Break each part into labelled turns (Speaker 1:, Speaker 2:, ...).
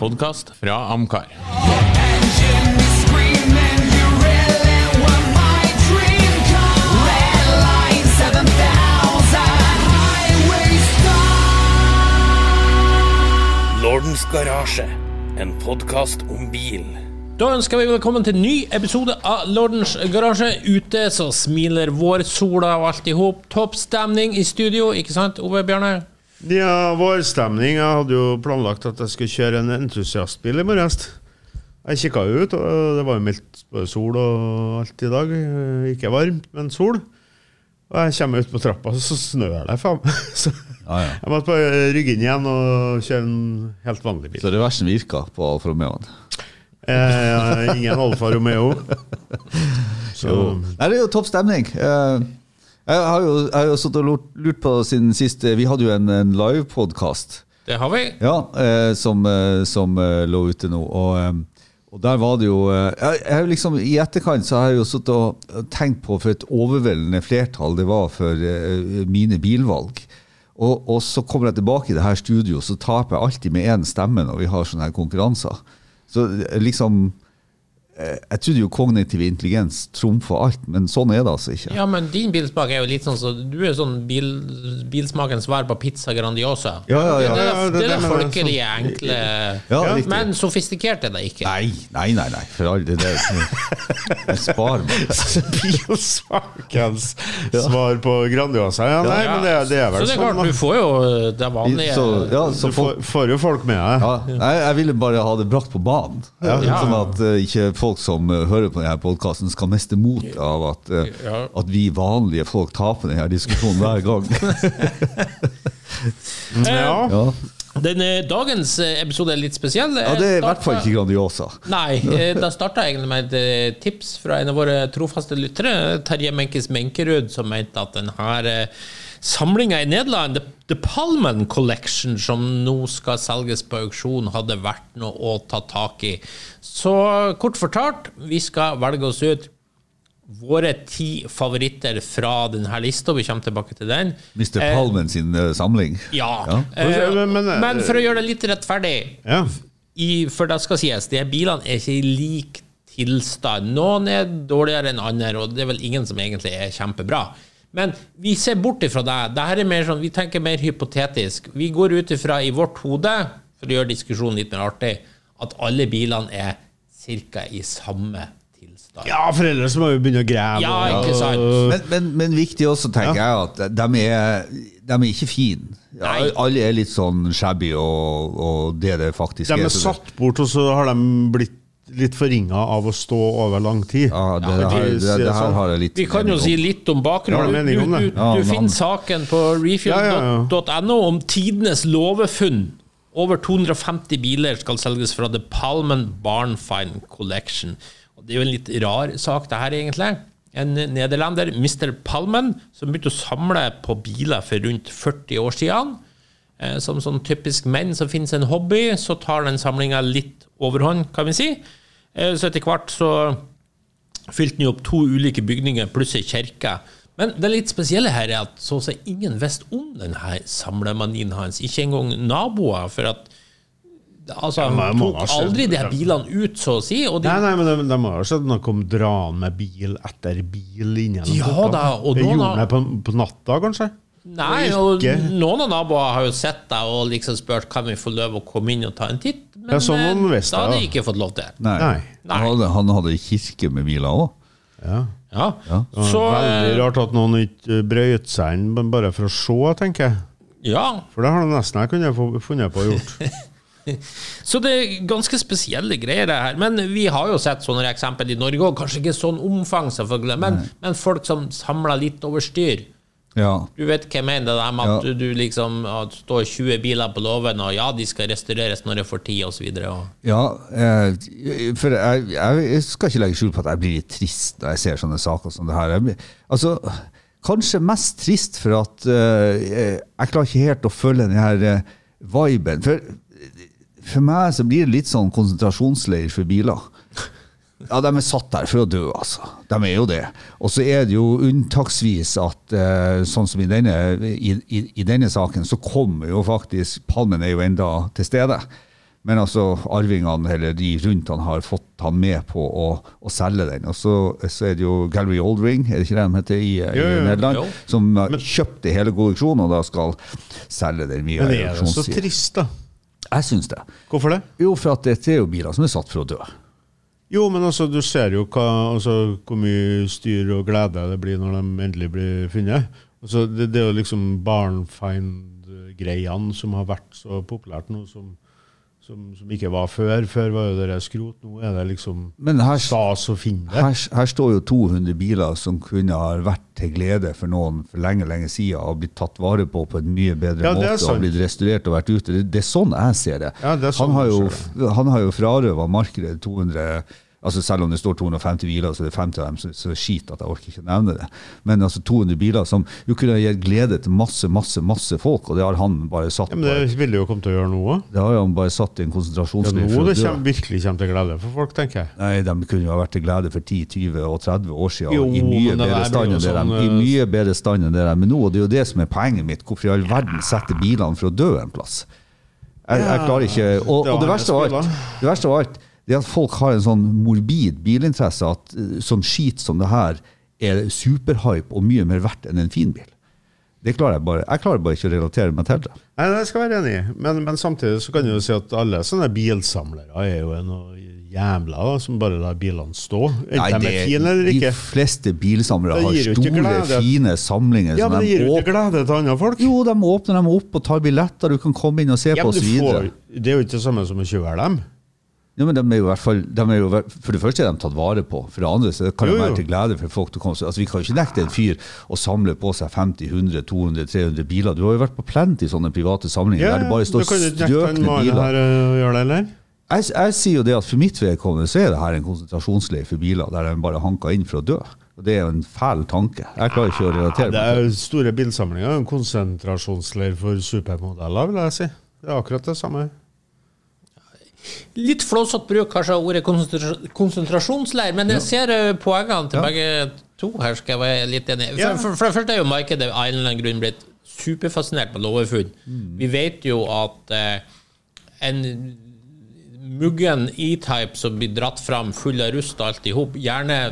Speaker 1: Podkast fra Amcar.
Speaker 2: Lordens Garasje, en podkast om bil.
Speaker 3: Da ønsker vi velkommen til en ny episode av Lordens garasje. Ute så smiler vårsola og alt i hop. Topp stemning i studio, ikke sant, Ove Bjørne?
Speaker 4: Ja, vårstemning. Jeg hadde jo planlagt at jeg skulle kjøre en entusiastbil i morges. Jeg kikka ut, og det var jo mildt både sol og alt i dag. Eh, Ikke varmt, men sol. Og jeg kommer ut på trappa, og så snør det, faen. Så jeg måtte bare rygge inn igjen og kjøre en helt vanlig bil.
Speaker 5: Så reversen virka på Alfa Romeoen.
Speaker 4: Eh, ingen Alfa Romeo. Så
Speaker 5: Nei, det er jo topp stemning. Eh, Jeg har jo, jeg har jo sittet og lurt, lurt på siden sist eh, Vi hadde jo en, en livepodkast
Speaker 3: Det har vi.
Speaker 5: ja, eh, som, eh, som eh, lå ute nå. Og, eh, og der var det jo eh, jeg, jeg, har jo liksom, I etterkant så har jeg jo sittet og tenkt på for et overveldende flertall det var for eh, mine bilvalg. Og, og så kommer jeg tilbake i det her studio, så taper jeg alltid med én stemme når vi har sånne her konkurranser. Så eh, liksom eh, Jeg trodde jo kognitiv intelligens trumfa alt, men sånn er det altså ikke.
Speaker 3: Ja, men din bilsmak er jo litt sånn så Du er sånn bil, bilsmakens svar på pizza Grandiosa.
Speaker 5: Ja, ja, ja.
Speaker 3: Det
Speaker 4: Ja,
Speaker 3: er det,
Speaker 4: ja, det-
Speaker 3: er
Speaker 4: det
Speaker 3: det
Speaker 4: mener jeg
Speaker 3: folkelige, enkle
Speaker 5: sånn- Ja, riktig.
Speaker 3: Men sofistikert er det ikke.
Speaker 5: Nei, nei, nei, nei, for all del. det er- Spar meg.
Speaker 4: Bilsakens svar på Grandiosa. Ja, nei, men det, det er vel
Speaker 3: så det er
Speaker 4: sånn.
Speaker 3: klart, du
Speaker 4: da.
Speaker 3: får jo eh, det vanlige
Speaker 5: Så, ja,
Speaker 4: Du
Speaker 5: så folk,
Speaker 4: får, får jo folk med deg.
Speaker 5: Ja, jeg, jeg ville bare ha det brakt på banen. Sånn at eh, ikke folk som eh, hører på denne podkasten skal miste mot av at, eh,
Speaker 3: Ja.
Speaker 5: at vi vanlige folk taper denne diskusjonen hver gang.
Speaker 4: Ja.
Speaker 5: ja.
Speaker 3: Denne Eh, dagens eh, episode er litt spesiell. Eh,
Speaker 5: ja, Det er i hvert fall ikke Grandiosa.
Speaker 3: Nei, eh, da starta jeg egentlig med et eh, tips fra en av våre trofaste lyttere, Terje Menkes Menkerud, som mente at denne samlinga i Nederland, The, The Palmen Collection, som nå skal selges på auksjon, hadde vært noe å ta tak i. Så kort fortalt, vi skal velge oss ut våre ti favoritter fra denne lista, vi kommer tilbake til den.
Speaker 5: Mr.
Speaker 3: Eh,
Speaker 5: Palmen sin eh, samling.
Speaker 3: Ja. Eh,
Speaker 4: Men- men-
Speaker 3: Men for å gjøre det litt rettferdig
Speaker 4: Ja.
Speaker 3: i, for det skal sies, de her bilene er ikke i lik tilstand. Noen er dårligere enn andre, og det er vel ingen som egentlig er kjempebra. Men vi ser bort ifra det. Dette er mer sånn, vi tenker mer hypotetisk. Vi går ut ifra i vårt hode, for å gjøre diskusjonen litt mer artig, at alle bilene er ca. i samme tilstand.
Speaker 4: Ja, for ellers må vi begynne å grave.
Speaker 3: Ja,
Speaker 4: og-
Speaker 3: ikke sant?
Speaker 5: Men, men, men viktig også, tenker jeg, at de er, de er ikke fine. Ja,
Speaker 3: Nei.
Speaker 5: alle er litt sånn shabby og, og det det faktisk
Speaker 4: De er
Speaker 5: så det-
Speaker 4: satt bort, og så har de blitt litt forringa av å stå over lang tid.
Speaker 5: Ja, det,
Speaker 4: Ja,
Speaker 5: her,
Speaker 4: det-
Speaker 5: det, det her
Speaker 4: sånn.
Speaker 5: har jeg litt
Speaker 3: Vi kan jo
Speaker 5: mening om.
Speaker 3: si litt om
Speaker 4: Ja,
Speaker 3: bakgrunnen.
Speaker 4: det er
Speaker 3: Du,
Speaker 4: mening om
Speaker 3: du,
Speaker 4: det.
Speaker 3: du,
Speaker 5: Ja,
Speaker 3: finner
Speaker 5: navn.
Speaker 3: saken på
Speaker 4: Ja, ja,
Speaker 3: refuel.no om tidenes låvefunn. Over 250 biler skal selges fra The Palmen Barnfine Collection. Og det er jo en litt rar sak, det her, egentlig. En nederlender, Mr. Palmen, som begynte å samle på biler for rundt 40 år siden. Eh, Som sånn typisk menn som finnes en hobby, så tar den samlinga litt overhånd, kan vi si. Eh, Så etter hvert så fylte den jo opp to ulike bygninger pluss ei kirke. Men det litt spesielle her er at så å si ingen visste om denne samlemanien hans. Ikke engang naboer. For at altså,
Speaker 4: men
Speaker 3: han
Speaker 4: må ha
Speaker 3: tok
Speaker 4: skjønt
Speaker 3: aldri de
Speaker 4: det.
Speaker 3: her bilene ut, så å si. Og de,
Speaker 4: Nei, nei, men de, de har jo sett noen kom draende med bil etter bil inn gjennom
Speaker 3: Ja
Speaker 4: gata.
Speaker 3: da, og
Speaker 4: Det
Speaker 3: noen
Speaker 4: gjorde
Speaker 3: har-
Speaker 4: de på, på natta, kanskje?
Speaker 3: Nei,
Speaker 4: Og
Speaker 3: og
Speaker 4: ikke-
Speaker 3: noen av naboer har jo sett deg og liksom spurt kan vi få lov å komme inn og ta en titt, men
Speaker 4: Ja, sånn
Speaker 3: eh,
Speaker 4: noen visste,
Speaker 3: da hadde de
Speaker 4: ja.
Speaker 3: ikke fått lov til.
Speaker 5: Nei.
Speaker 4: Nei.
Speaker 3: Nei.
Speaker 5: Han, hadde, han hadde kirke med biler òg.
Speaker 3: Ja. Så,
Speaker 4: Veldig
Speaker 3: eh,
Speaker 4: rart at noen ikke brøyt seg inn men bare for å se, tenker jeg.
Speaker 3: eh, ja.
Speaker 4: For det har de nesten jeg kunne få- funnet på å gjort.
Speaker 3: så det er ganske spesielle greier det her. Men vi har jo sett sånne eksempel i Norge òg. Kanskje ikke sånn omfang, selvfølgelig, men, men folk som samler litt over styr.
Speaker 5: Ja.
Speaker 3: Du vet hva jeg mener, det der med at
Speaker 5: Ja.
Speaker 3: du, du liksom at det står 20 biler på låven, og ja, de skal restaureres når jeg får tid, osv.
Speaker 5: ja eh, for jeg, jeg skal ikke legge skjul på at jeg blir litt trist når jeg ser sånne saker som det her. Jeg blir, altså, kanskje mest trist for at eh, jeg klarer ikke helt å følge den her eh, viben. For, for meg så blir det litt sånn konsentrasjonsleir for biler. Ja, de er satt der for å dø, altså. De er jo det. Og så er det jo unntaksvis at eh, sånn som i denne, i, i, i denne saken, så kommer jo faktisk Palmen er jo enda til stede. Men altså, arvingene eller de rundt han har fått han med på å, å selge den. Og så, så er det jo Gallery Oldring, er det ikke det de heter i, i
Speaker 4: Jo, jo, jo.
Speaker 5: Nederland,
Speaker 3: Jo.
Speaker 5: som har kjøpt hele kolleksjonen og da skal selge den via
Speaker 4: Men er det så
Speaker 5: auksjonssiden.
Speaker 4: trist, da?
Speaker 5: Jeg syns det.
Speaker 4: Hvorfor det?
Speaker 5: Jo, for at dette er jo biler som er satt for å dø.
Speaker 4: Jo, men altså, du ser jo hva, altså, hvor mye styr og glede det blir når de endelig blir funnet. Altså, det, det er jo liksom barnfind-greiene som har vært så populært nå, som, som, som ikke var før. Før var jo det der skrot. Nå er det liksom
Speaker 5: Men her,
Speaker 4: stas å finne det.
Speaker 5: her, her står jo 200 biler som kunne ha vært til glede for noen for lenge lenge siden og blitt tatt vare på på en mye bedre
Speaker 4: Ja, det er
Speaker 5: måte
Speaker 4: sant.
Speaker 5: og blitt restaurert og vært ute. Det, det er sånn jeg ser det.
Speaker 4: Ja, det er sånn
Speaker 5: han, har
Speaker 4: jeg
Speaker 5: jo,
Speaker 4: ser
Speaker 5: han har jo frarøva markedet 200 Altså Selv om det står 250 biler, så er det 50 av dem så, så skit at jeg orker ikke nevne det. Men altså 200 biler som jo kunne ha gitt glede til masse, masse masse folk, og det har han bare satt
Speaker 4: Ja, men det
Speaker 5: på.
Speaker 4: vil det jo komme til å gjøre nå òg.
Speaker 5: Det har jo han bare satt i en
Speaker 4: Det er
Speaker 5: konsentrasjonsleir
Speaker 4: nå
Speaker 5: for å
Speaker 4: det
Speaker 5: dø.
Speaker 4: kommer, virkelig kommer til glede for folk, tenker jeg.
Speaker 5: Nei, de kunne jo ha vært til glede for 10, 20 og 30 år siden.
Speaker 4: Jo,
Speaker 5: I mye
Speaker 4: men det
Speaker 5: bedre
Speaker 4: der
Speaker 5: stand
Speaker 4: blir jo
Speaker 5: enn det de
Speaker 4: sånn,
Speaker 5: i mye bedre stand enn det de er nå. Og det er jo det som er poenget mitt. Hvorfor i all verden setter bilene for å dø en plass? Jeg, jeg klarer ikke Og,
Speaker 4: det
Speaker 5: og
Speaker 4: var
Speaker 5: det, verste av
Speaker 4: hennes
Speaker 5: alt,
Speaker 4: bil,
Speaker 5: det verste av alt det er at folk har en sånn morbid bilinteresse at eh, sånn skit som det her er superhype og mye mer verdt enn en fin bil. Det klarer jeg bare. Jeg klarer bare ikke å relatere meg til det.
Speaker 4: Nei, det skal jeg være enig i. Men, men samtidig så kan jeg jo si at alle sånne bilsamlere er jo noe jævla da, som bare lar bilene stå. Enten de er
Speaker 5: det-
Speaker 4: fine eller
Speaker 5: De
Speaker 4: ikke.
Speaker 5: fleste bilsamlere
Speaker 4: Det
Speaker 5: har
Speaker 4: gir jo ikke
Speaker 5: store,
Speaker 4: glede.
Speaker 5: fine samlinger.
Speaker 4: Ja, men
Speaker 5: som
Speaker 4: det
Speaker 5: de
Speaker 4: gir jo
Speaker 5: åpner-
Speaker 4: ikke glede til andre folk.
Speaker 5: Jo, de åpner dem opp og tar billetter. Du kan komme inn og se
Speaker 4: Ja,
Speaker 5: på
Speaker 4: men
Speaker 5: oss
Speaker 4: du får,
Speaker 5: videre.
Speaker 4: det er jo ikke det samme som å kjøre dem.
Speaker 5: Ja, men de er jo i hvert fall, de er jo, i hvert- for det første er de tatt vare på. For det andre så kan
Speaker 4: Jo,
Speaker 5: det
Speaker 4: jo.
Speaker 5: være til glede for folk. til å komme seg- Altså, vi kan jo ikke nekte en fyr å samle på seg 50, 100, 200, 300 biler. Du har jo vært på plenty sånne private samlinger
Speaker 4: Ja,
Speaker 5: der det bare
Speaker 4: du
Speaker 5: står
Speaker 4: kan jo ikke nekte en
Speaker 5: strøkne
Speaker 4: mann
Speaker 5: biler.
Speaker 4: her øh, å gjøre det, eller?
Speaker 5: Jeg, jeg sier jo det at for mitt vedkommende så er det her en konsentrasjonsleir for biler der de bare hanker inn for å dø. Og Det er jo en fæl tanke. Jeg klarer ikke å relatere
Speaker 4: Det
Speaker 5: meg
Speaker 4: er
Speaker 5: til det.
Speaker 4: jo store bilsamlinger. En konsentrasjonsleir for supermodeller, vil jeg si. Det er akkurat det samme.
Speaker 3: Litt flåsete bruk kanskje av ordet konsentra- konsentrasjonsleir, men jeg ser eh, poengene til begge to her, skal jeg være litt enig i.
Speaker 4: Ja.
Speaker 3: For, for, for det første er jo markedet av en eller annen grunn blitt superfascinert på låvefunn. Vi vet jo at eh, en muggen E-type som blir dratt fram full av rust og alt i hop, gjerne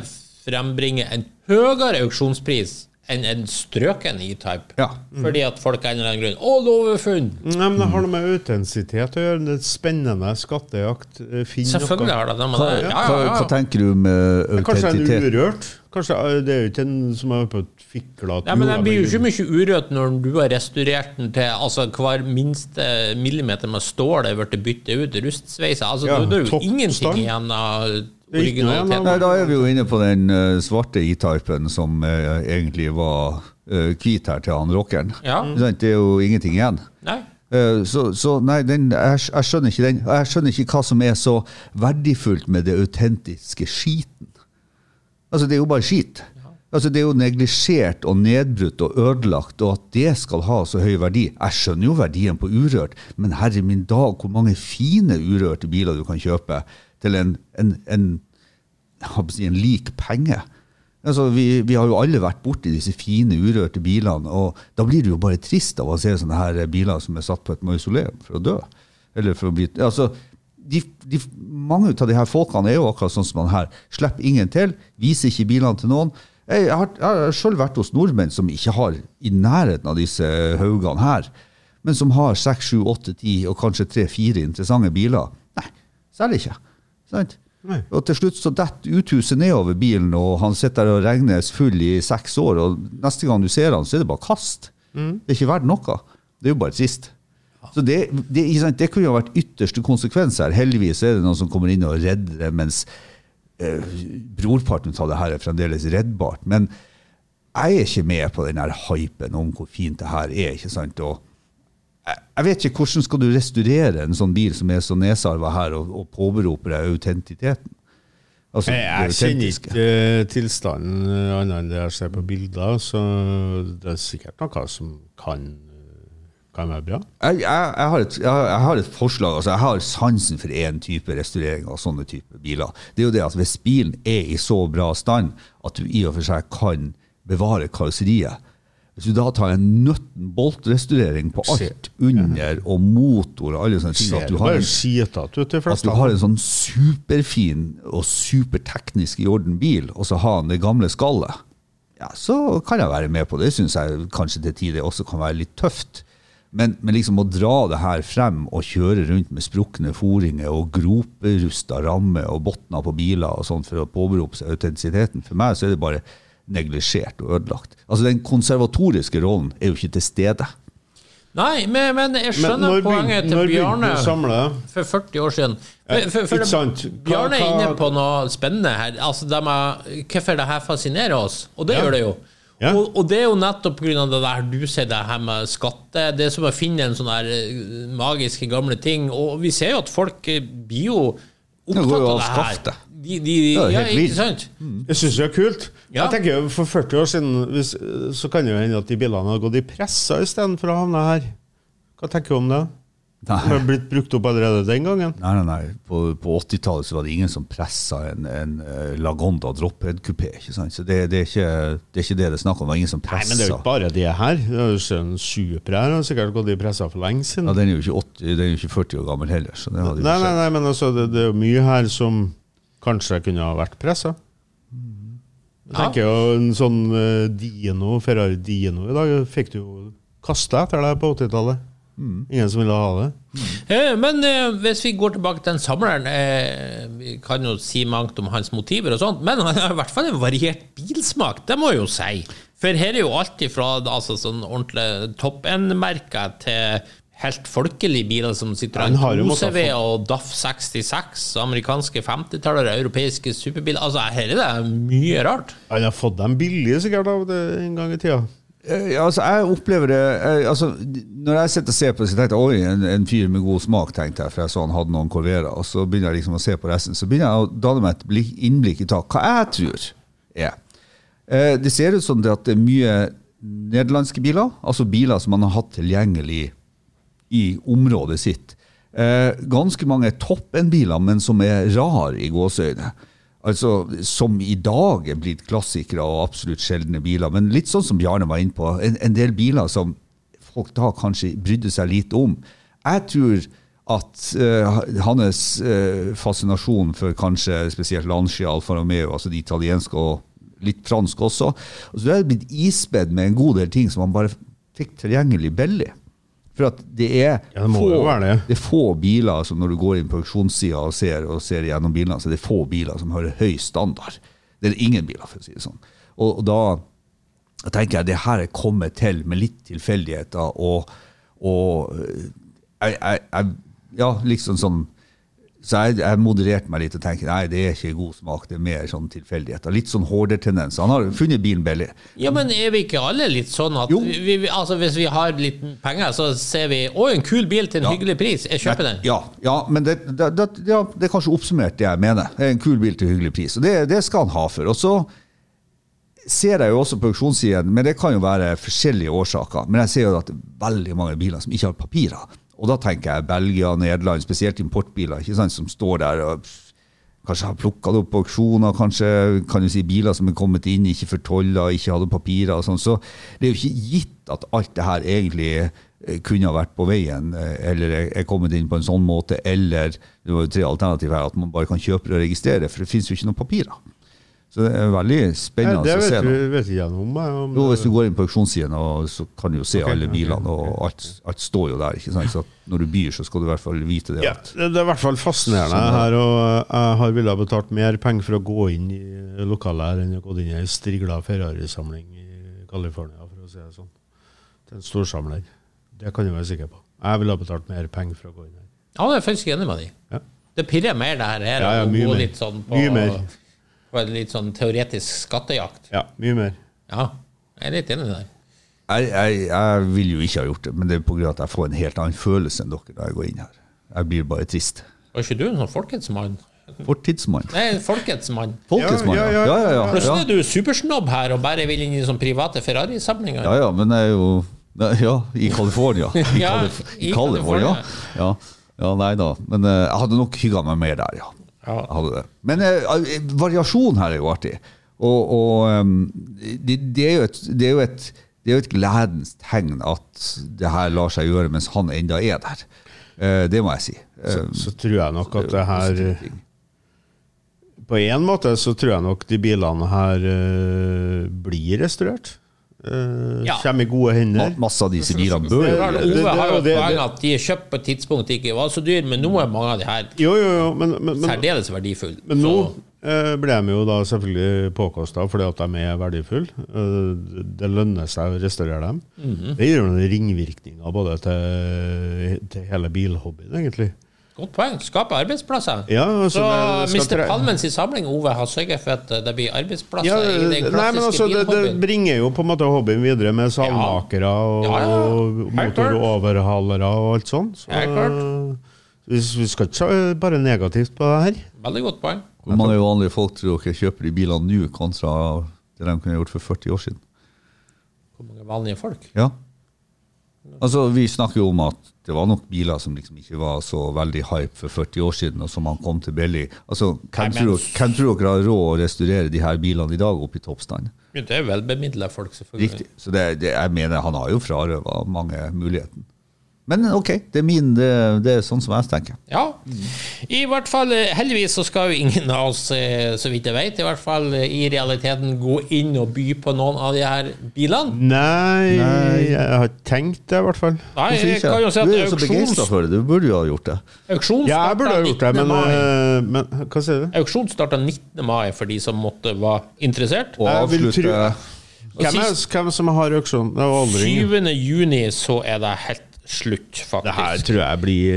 Speaker 3: frembringer en høyere auksjonspris enn en strøken E-type.
Speaker 5: Ja.
Speaker 3: Fordi at folk av en eller annen grunn Å, låvefunn!
Speaker 4: Nei, men Det har noe med autentisitet å gjøre. Det er spennende skattejakt. eh, Finn
Speaker 3: Selvfølgelig
Speaker 4: noe.
Speaker 3: har det det. men
Speaker 5: Hva,
Speaker 3: det- Ja, ja,
Speaker 5: hva,
Speaker 3: ja.
Speaker 5: hva tenker du eh, med
Speaker 4: Kanskje en
Speaker 5: autentitet?
Speaker 4: urørt? Kanskje eh, Det er jo ikke en som er på et fikla
Speaker 3: Ja, men den blir jo ikke mye urørt når du har restaurert den til altså hver minste millimeter med stål er blitt byttet ut, rustsveiser Altså,
Speaker 4: Ja,
Speaker 3: du- det er jo
Speaker 4: toppstand.
Speaker 3: ingenting igjen av
Speaker 4: er ikke noe igjen av-
Speaker 3: originaliteten.
Speaker 5: Nei, da er vi jo inne på den eh, svarte E-typen som eh, egentlig var eh, hvit her til han rockeren.
Speaker 3: Ja.
Speaker 5: Ikke sant? Det er jo ingenting igjen.
Speaker 3: Nei.
Speaker 5: Eh, så, så nei, den, jeg, skj- jeg skjønner ikke den. Og jeg skjønner ikke hva som er så verdifullt med det autentiske skiten. Altså, det er jo bare skit. Altså, det er jo neglisjert og nedbrutt og ødelagt, og at det skal ha så høy verdi. Jeg skjønner jo verdien på urørt, men herre min dag, hvor mange fine urørte biler du kan kjøpe til en, en, en jeg holdt på å si, en lik penge. Altså, vi, vi har jo alle vært borti disse fine, urørte bilene, og da blir du jo bare trist av å se sånne her biler som er satt på et mausoleum for å dø. Eller for å bli, altså, de, de, mange av de her folkene er jo akkurat sånn som han her. Slipper ingen til, viser ikke bilene til noen. Jeg har, jeg har sjøl vært hos nordmenn som ikke har i nærheten av disse haugene her, men som har seks, sju, åtte, ti og kanskje tre-fire interessante biler. Nei, selger ikke. Sant?
Speaker 4: Nei.
Speaker 5: Og til slutt så detter uthuset nedover bilen, og han sitter der og regnes full i seks år, og neste gang du ser han, så er det bare kast. Det er ikke verdt noe. Det er jo bare trist. Så det, det, ikke sant, det kunne jo vært ytterste konsekvens her. Heldigvis er det noen som kommer inn og redder det, mens eh, brorparten av det her er fremdeles reddbart. Men jeg er ikke med på den her hypen om hvor fint det her er, ikke sant? Og jeg jeg vet ikke hvordan skal du restaurere en sånn bil som er så nedsarva her, og, og påberope deg autentiteten? Altså,
Speaker 4: Jeg, jeg
Speaker 5: det
Speaker 4: kjenner
Speaker 5: autentiske.
Speaker 4: ikke eh, tilstanden eh, annet enn det jeg ser på bilder, så det er sikkert noe som kan, eh, kan være bra.
Speaker 5: jeg, jeg, jeg, har et, jeg, har- jeg har et forslag. Altså, jeg har sansen for én type restaurering av sånne type biler. Det er jo det at Hvis bilen er i så bra stand at du i og for seg kan bevare karosseriet, Hvis du da tar en nøtten-bolt-restaurering på alt under og motor og alle sånne ting at du har
Speaker 4: bare
Speaker 5: en
Speaker 4: skitete ut, de
Speaker 5: at du
Speaker 4: fleste.
Speaker 5: har en sånn superfin og superteknisk i orden bil, og så har han det gamle skallet, ja, så kan jeg være med på det. Det syns jeg kanskje til tider også kan være litt tøft. Men, men liksom å dra det her frem og kjøre rundt med sprukne foringer og groperusta rammer og botner på biler og sånn for å påberope seg autentisiteten, for meg så er det bare neglisjert og ødelagt. Altså Den konservatoriske rollen er jo ikke til stede.
Speaker 3: Nei, men, men jeg
Speaker 4: Men
Speaker 3: skjønner
Speaker 4: når begyn-
Speaker 3: poenget til
Speaker 4: når begynte
Speaker 3: Bjarne.
Speaker 4: du å samle?
Speaker 3: For 40 år siden. For, for, for
Speaker 4: ikke
Speaker 3: det-
Speaker 4: sant. Hva-
Speaker 3: Bjarne er inne
Speaker 4: hva-
Speaker 3: på noe spennende her. Altså, de er, hvorfor det her fascinerer oss. Og det
Speaker 4: Ja.
Speaker 3: gjør det jo.
Speaker 4: Ja.
Speaker 3: Og, og det er jo nettopp pga. det der du sier det her med skatte. Det er som å finne en sånn her eh, magiske, gamle ting. Og vi ser jo at folk eh, blir jo
Speaker 5: går
Speaker 3: opptatt
Speaker 5: jo
Speaker 3: av
Speaker 5: av
Speaker 3: det
Speaker 5: skaftet.
Speaker 3: her. De, de,
Speaker 5: Det er jo
Speaker 3: ja,
Speaker 5: helt vilt.
Speaker 3: ikke sant?
Speaker 5: Mm.
Speaker 4: Jeg syns det er kult.
Speaker 3: Ja.
Speaker 4: Jeg tenker jo For 40 år siden hvis, eh, så kan det jo hende at de bilene har gått i pressa istedenfor å havne her. Hva tenker du om det? De
Speaker 5: Nei.
Speaker 4: har blitt brukt opp allerede den gangen.
Speaker 5: Nei, nei, nei. På, på 80-tallet så var det ingen som pressa en, en eh, Lagonda drophead-kupé. ikke sant? Så det, det, er ikke, det er ikke det det er snakk om. Det var ingen som
Speaker 4: Nei,
Speaker 5: pressa.
Speaker 4: men det er jo ikke bare de her. Det er jo ikke en Super her har sikkert gått i pressa for lenge siden.
Speaker 5: ja, den er jo ikke, 80, den er jo ikke 40 år gammel heller. så det hadde jo
Speaker 4: Nei,
Speaker 5: ikke
Speaker 4: nei,
Speaker 5: skjedd.
Speaker 4: nei, men altså, det, det er jo mye her som kanskje kunne ha vært pressa. Jeg
Speaker 3: Ja.
Speaker 4: tenker jo en sånn eh, Dino, Ferrari Dino i dag, fikk du jo kasta etter deg på 80-tallet.
Speaker 5: Mm.
Speaker 4: Ingen som ville ha det.
Speaker 3: Eh, Men eh, hvis vi går tilbake til den samleren eh, Vi kan jo si mangt om hans motiver og sånt, men han har i hvert fall en variert bilsmak, det må jeg jo si. For her er jo alt ifra altså, sånn ordentlig topp-end-merker til helt folkelige biler som sitter
Speaker 4: Han har
Speaker 3: av
Speaker 4: jo måttet
Speaker 3: OCV og DAF 66, amerikanske 50-tallere, europeiske superbiler Altså, her er det mye rart.
Speaker 4: Han har fått dem billig sikkert av det en gang i tida.
Speaker 5: Eh, altså, jeg opplever det eh, altså, Når jeg sitter og ser på det, så tenkte jeg oi, en, en fyr med god smak, tenkte jeg, for jeg så han hadde noen Corvera. Og så begynner jeg liksom å se på resten, så begynner jeg å danne meg et blikk- innblikk i tak, hva jeg tror er. Eh, Det ser ut som det at det er mye nederlandske biler, altså biler som man har hatt tilgjengelig i området sitt. Eh, ganske mange toppen-biler, men som er rar i gåseøyne. Altså, Som i dag er blitt klassikere og absolutt sjeldne biler. Men litt sånn som Bjarne var inne på, en, en del biler som folk da kanskje brydde seg lite om. Jeg tror at eh, hans eh, fascinasjon for kanskje spesielt Lancia, Alfa Romeo, altså de italienske og litt fransk også, og så er det blitt ispedd med en god del ting som han bare fikk tilgjengelig billig. For at det er,
Speaker 4: Ja, det må jo være det.
Speaker 5: er få biler som når du går inn på auksjonssida og ser, og ser gjennom bilene, så er det få biler som har høy standard. Det er ingen biler, for å si det sånn. Og, og da da tenker jeg det her er kommet til med litt tilfeldigheter og, og øh, jeg, jeg, jeg, Ja, liksom sånn Så jeg, jeg modererte meg litt og tenkte nei, det er ikke god smak, det er mer sånn tilfeldigheter. Litt sånn Hoarder-tendens. Han har funnet bilen billig.
Speaker 3: Ja, men er vi ikke alle litt sånn at
Speaker 5: Jo.
Speaker 3: vi, vi, altså, hvis vi har litt penger, så ser vi 'Å, en kul bil til en
Speaker 5: Ja.
Speaker 3: hyggelig pris', jeg kjøper den.
Speaker 5: Ja, ja men det, det, det, ja, det er kanskje oppsummert det jeg mener. Det er En kul bil til hyggelig pris. Og det, det skal han ha for. Og så ser jeg jo også på auksjonssiden, men det kan jo være forskjellige årsaker. Men jeg ser jo at det er veldig mange biler som ikke har papirer. Og da tenker jeg Belgia, Nederland, spesielt importbiler, ikke sant, som står der og pff, kanskje har plukka det opp på auksjoner, kanskje kan du si biler som er kommet inn, ikke fortolla, ikke hadde papirer og sånn. Så det er jo ikke gitt at alt det her egentlig eh, kunne ha vært på veien, eh, eller er- er kommet inn på en sånn måte, eller det var jo tre alternativer her, at man bare kan kjøpe og registrere, for det finnes jo ikke noen papirer. Så det er veldig
Speaker 4: Nei,
Speaker 5: spennende
Speaker 4: det
Speaker 5: å se.
Speaker 4: vet,
Speaker 5: nå.
Speaker 4: vi, vet ikke jeg noe om. jeg, om
Speaker 5: Jo, hvis
Speaker 4: det-
Speaker 5: du går inn på auksjonssiden, og så kan du jo se alle bilene, og alt, alt står jo der. ikke sant? Så at når du byr, så skal du i hvert fall vite det.
Speaker 4: Ja,
Speaker 5: at-
Speaker 4: det det er i hvert fall fascinerende her, og jeg har villet ha betalt mer penger for å gå inn i eh, lokalet her enn å gå inn i ei strigla Ferrari-samling i California, for å si det sånn. Til en storsamler. Det kan du være sikker på. Jeg ville ha betalt mer penger for å gå inn her.
Speaker 3: Ja, jeg er faktisk enig med deg.
Speaker 4: Ja.
Speaker 3: Det pirrer mer det her, her
Speaker 4: Ja, ja,
Speaker 3: å
Speaker 4: mye
Speaker 3: gå
Speaker 4: mer.
Speaker 3: litt sånn på,
Speaker 4: Mye mer.
Speaker 3: på en litt sånn teoretisk skattejakt.
Speaker 4: Ja, mye mer.
Speaker 3: Ja, jeg er litt enig med deg.
Speaker 5: Jeg, jeg, jeg vil jo ikke ha gjort det, men det er pga. at jeg får en helt annen følelse enn dere når jeg går inn her. Jeg blir bare trist.
Speaker 3: Var ikke du en sånn folkets mann?
Speaker 5: Fortidsmann.
Speaker 3: Nei, en folkets mann.
Speaker 5: Folketsmann, ja. Ja, ja, ja. ja,
Speaker 3: Plutselig er du supersnobb her og bare vil inn i sånn private Ferrari-samlinger.
Speaker 5: ja, ja men jeg er jo Nei, Ja, i California. I,
Speaker 3: Ja,
Speaker 5: Calif-
Speaker 3: i
Speaker 5: i California.
Speaker 3: California.
Speaker 5: Ja. ja, nei da. Men eh, jeg hadde nok hygga meg mer der, ja.
Speaker 3: Ja.
Speaker 5: Jeg hadde det. Men eh, ehm, variasjon her er jo artig. Og, og eh, det, det, er jo et, det er jo et det er jo et gledens tegn at det her lar seg gjøre mens han enda er der. Eh, Det må jeg si. Eh,
Speaker 4: Så tror jeg nok at
Speaker 5: det
Speaker 4: det
Speaker 5: er jo
Speaker 4: her
Speaker 5: positive ting.
Speaker 4: På en måte så tror jeg nok de bilene her eh, blir restaurert. Eh,
Speaker 3: Ja.
Speaker 4: Kommer i gode
Speaker 5: Ma-
Speaker 4: hender.
Speaker 5: Masse av disse bilene bør jo
Speaker 3: Ove
Speaker 4: det- det-
Speaker 3: har jo
Speaker 4: det- det-
Speaker 3: poeng at de er kjøpt på et tidspunkt det ikke var så dyr, men nå er mange av de her
Speaker 4: Jo, jo, jo, men, men, men,
Speaker 3: særdeles verdifulle.
Speaker 4: Men nå
Speaker 3: Så-
Speaker 4: eh, ble de jo da selvfølgelig påkosta fordi at de er verdifulle. Eh, det lønner seg å restaurere dem.
Speaker 3: Mhm.
Speaker 4: Det gir jo noen ringvirkninger både til, til hele bilhobbyen, egentlig.
Speaker 3: Godt poeng. Skape arbeidsplasser.
Speaker 4: Ja, altså,
Speaker 3: så
Speaker 4: det skal
Speaker 3: Mr.
Speaker 4: tre-
Speaker 3: Palmen sin samling, Ove, har sørget for at det blir arbeidsplasser
Speaker 4: Ja,
Speaker 3: i den
Speaker 4: nei, men
Speaker 3: klassiske
Speaker 4: altså, det, det
Speaker 3: bilhobbyen.
Speaker 4: bringer jo på en måte hobbyen videre med savmakere og,
Speaker 3: Ja, ja, ja.
Speaker 4: og
Speaker 3: Helt klart.
Speaker 4: motoroverhalere og alt sånt. Så,
Speaker 3: Helt klart.
Speaker 4: vi, vi skal ikke se bare negativt på det her.
Speaker 3: Veldig godt poeng.
Speaker 5: Hvor mange vanlige folk tror dere kjøper de bilene nå, kontra det de kunne gjort for 40 år siden?
Speaker 3: Hvor mange vanlige folk?
Speaker 5: Ja. Altså, Vi snakker jo om at det var nok biler som liksom ikke var så veldig hype for 40 år siden, og som han kom til billig. Altså,
Speaker 3: Nei,
Speaker 5: Hvem
Speaker 3: men-
Speaker 5: tror, dere- hvem tror dere har råd å restaurere de her bilene i dag opp i toppstand?
Speaker 3: Det er velbemidla folk, selvfølgelig.
Speaker 5: Riktig. Så det, det, jeg mener han har jo frarøva mange muligheten. Men OK, det er min, det, det er sånn som jeg tenker.
Speaker 3: Ja. I hvert fall, eh, heldigvis så skal jo ingen av oss, eh, så vidt jeg vet, i hvert fall eh, i realiteten gå inn og by på noen av de her bilene.
Speaker 4: Nei, jeg har ikke tenkt det, i hvert fall.
Speaker 3: Nei,
Speaker 5: Hvorfor
Speaker 3: jeg
Speaker 5: ikke?
Speaker 3: kan jo si at
Speaker 5: du er jo så
Speaker 3: auksjons,
Speaker 5: begeistra for det, du burde jo ha gjort det.
Speaker 3: auksjon
Speaker 4: Ja, jeg burde ha gjort det,
Speaker 3: startet 19.
Speaker 4: men,
Speaker 3: mai.
Speaker 4: eh, men Hva sier du?
Speaker 3: Auksjon starta 19. mai for de som måtte være interessert.
Speaker 5: Og
Speaker 4: Jeg vil
Speaker 5: avslutte
Speaker 4: tro- Hvem, er,
Speaker 3: sist-
Speaker 4: hvem som har auksjon? Det var aldring.
Speaker 3: 7. Eh, juni så er det helt slutt,
Speaker 4: Det her
Speaker 3: faktisk.
Speaker 4: tror jeg blir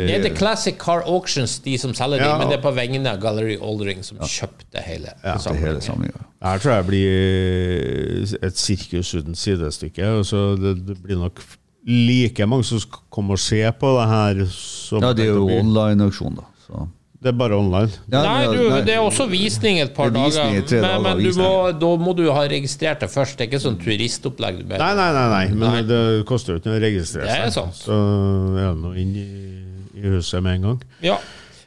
Speaker 3: Det er The Classic Car Auctions, de som selger
Speaker 4: Ja.
Speaker 3: de, men det er på vegne av Gallery Aldring, som kjøpte hele.
Speaker 5: til
Speaker 3: samlingen.
Speaker 5: hele samlinga.
Speaker 4: Det eh, her tror jeg blir eh, et sirkus uten sidestykke. og så det, det blir nok like mange som sk- kommer og ser på det her. som
Speaker 5: Ja, det er jo
Speaker 4: blir-
Speaker 5: online-auksjon, da. Så.
Speaker 4: det er bare online.
Speaker 5: Ja,
Speaker 3: Nei,
Speaker 5: ja,
Speaker 3: du,
Speaker 5: nei.
Speaker 3: det er også visning et par
Speaker 5: Det er visning i
Speaker 3: dager.
Speaker 5: tre
Speaker 3: Men,
Speaker 5: dager,
Speaker 3: men du må,
Speaker 5: visning.
Speaker 3: da må du ha registrert det først. Det er ikke sånn turistopplegg. du ber.
Speaker 4: Nei, nei, nei, nei men det koster jo ikke noe å registrere
Speaker 3: Det
Speaker 4: seg.
Speaker 3: er sant.
Speaker 4: Så er det nå inn i, i huset med en gang.
Speaker 3: Ja.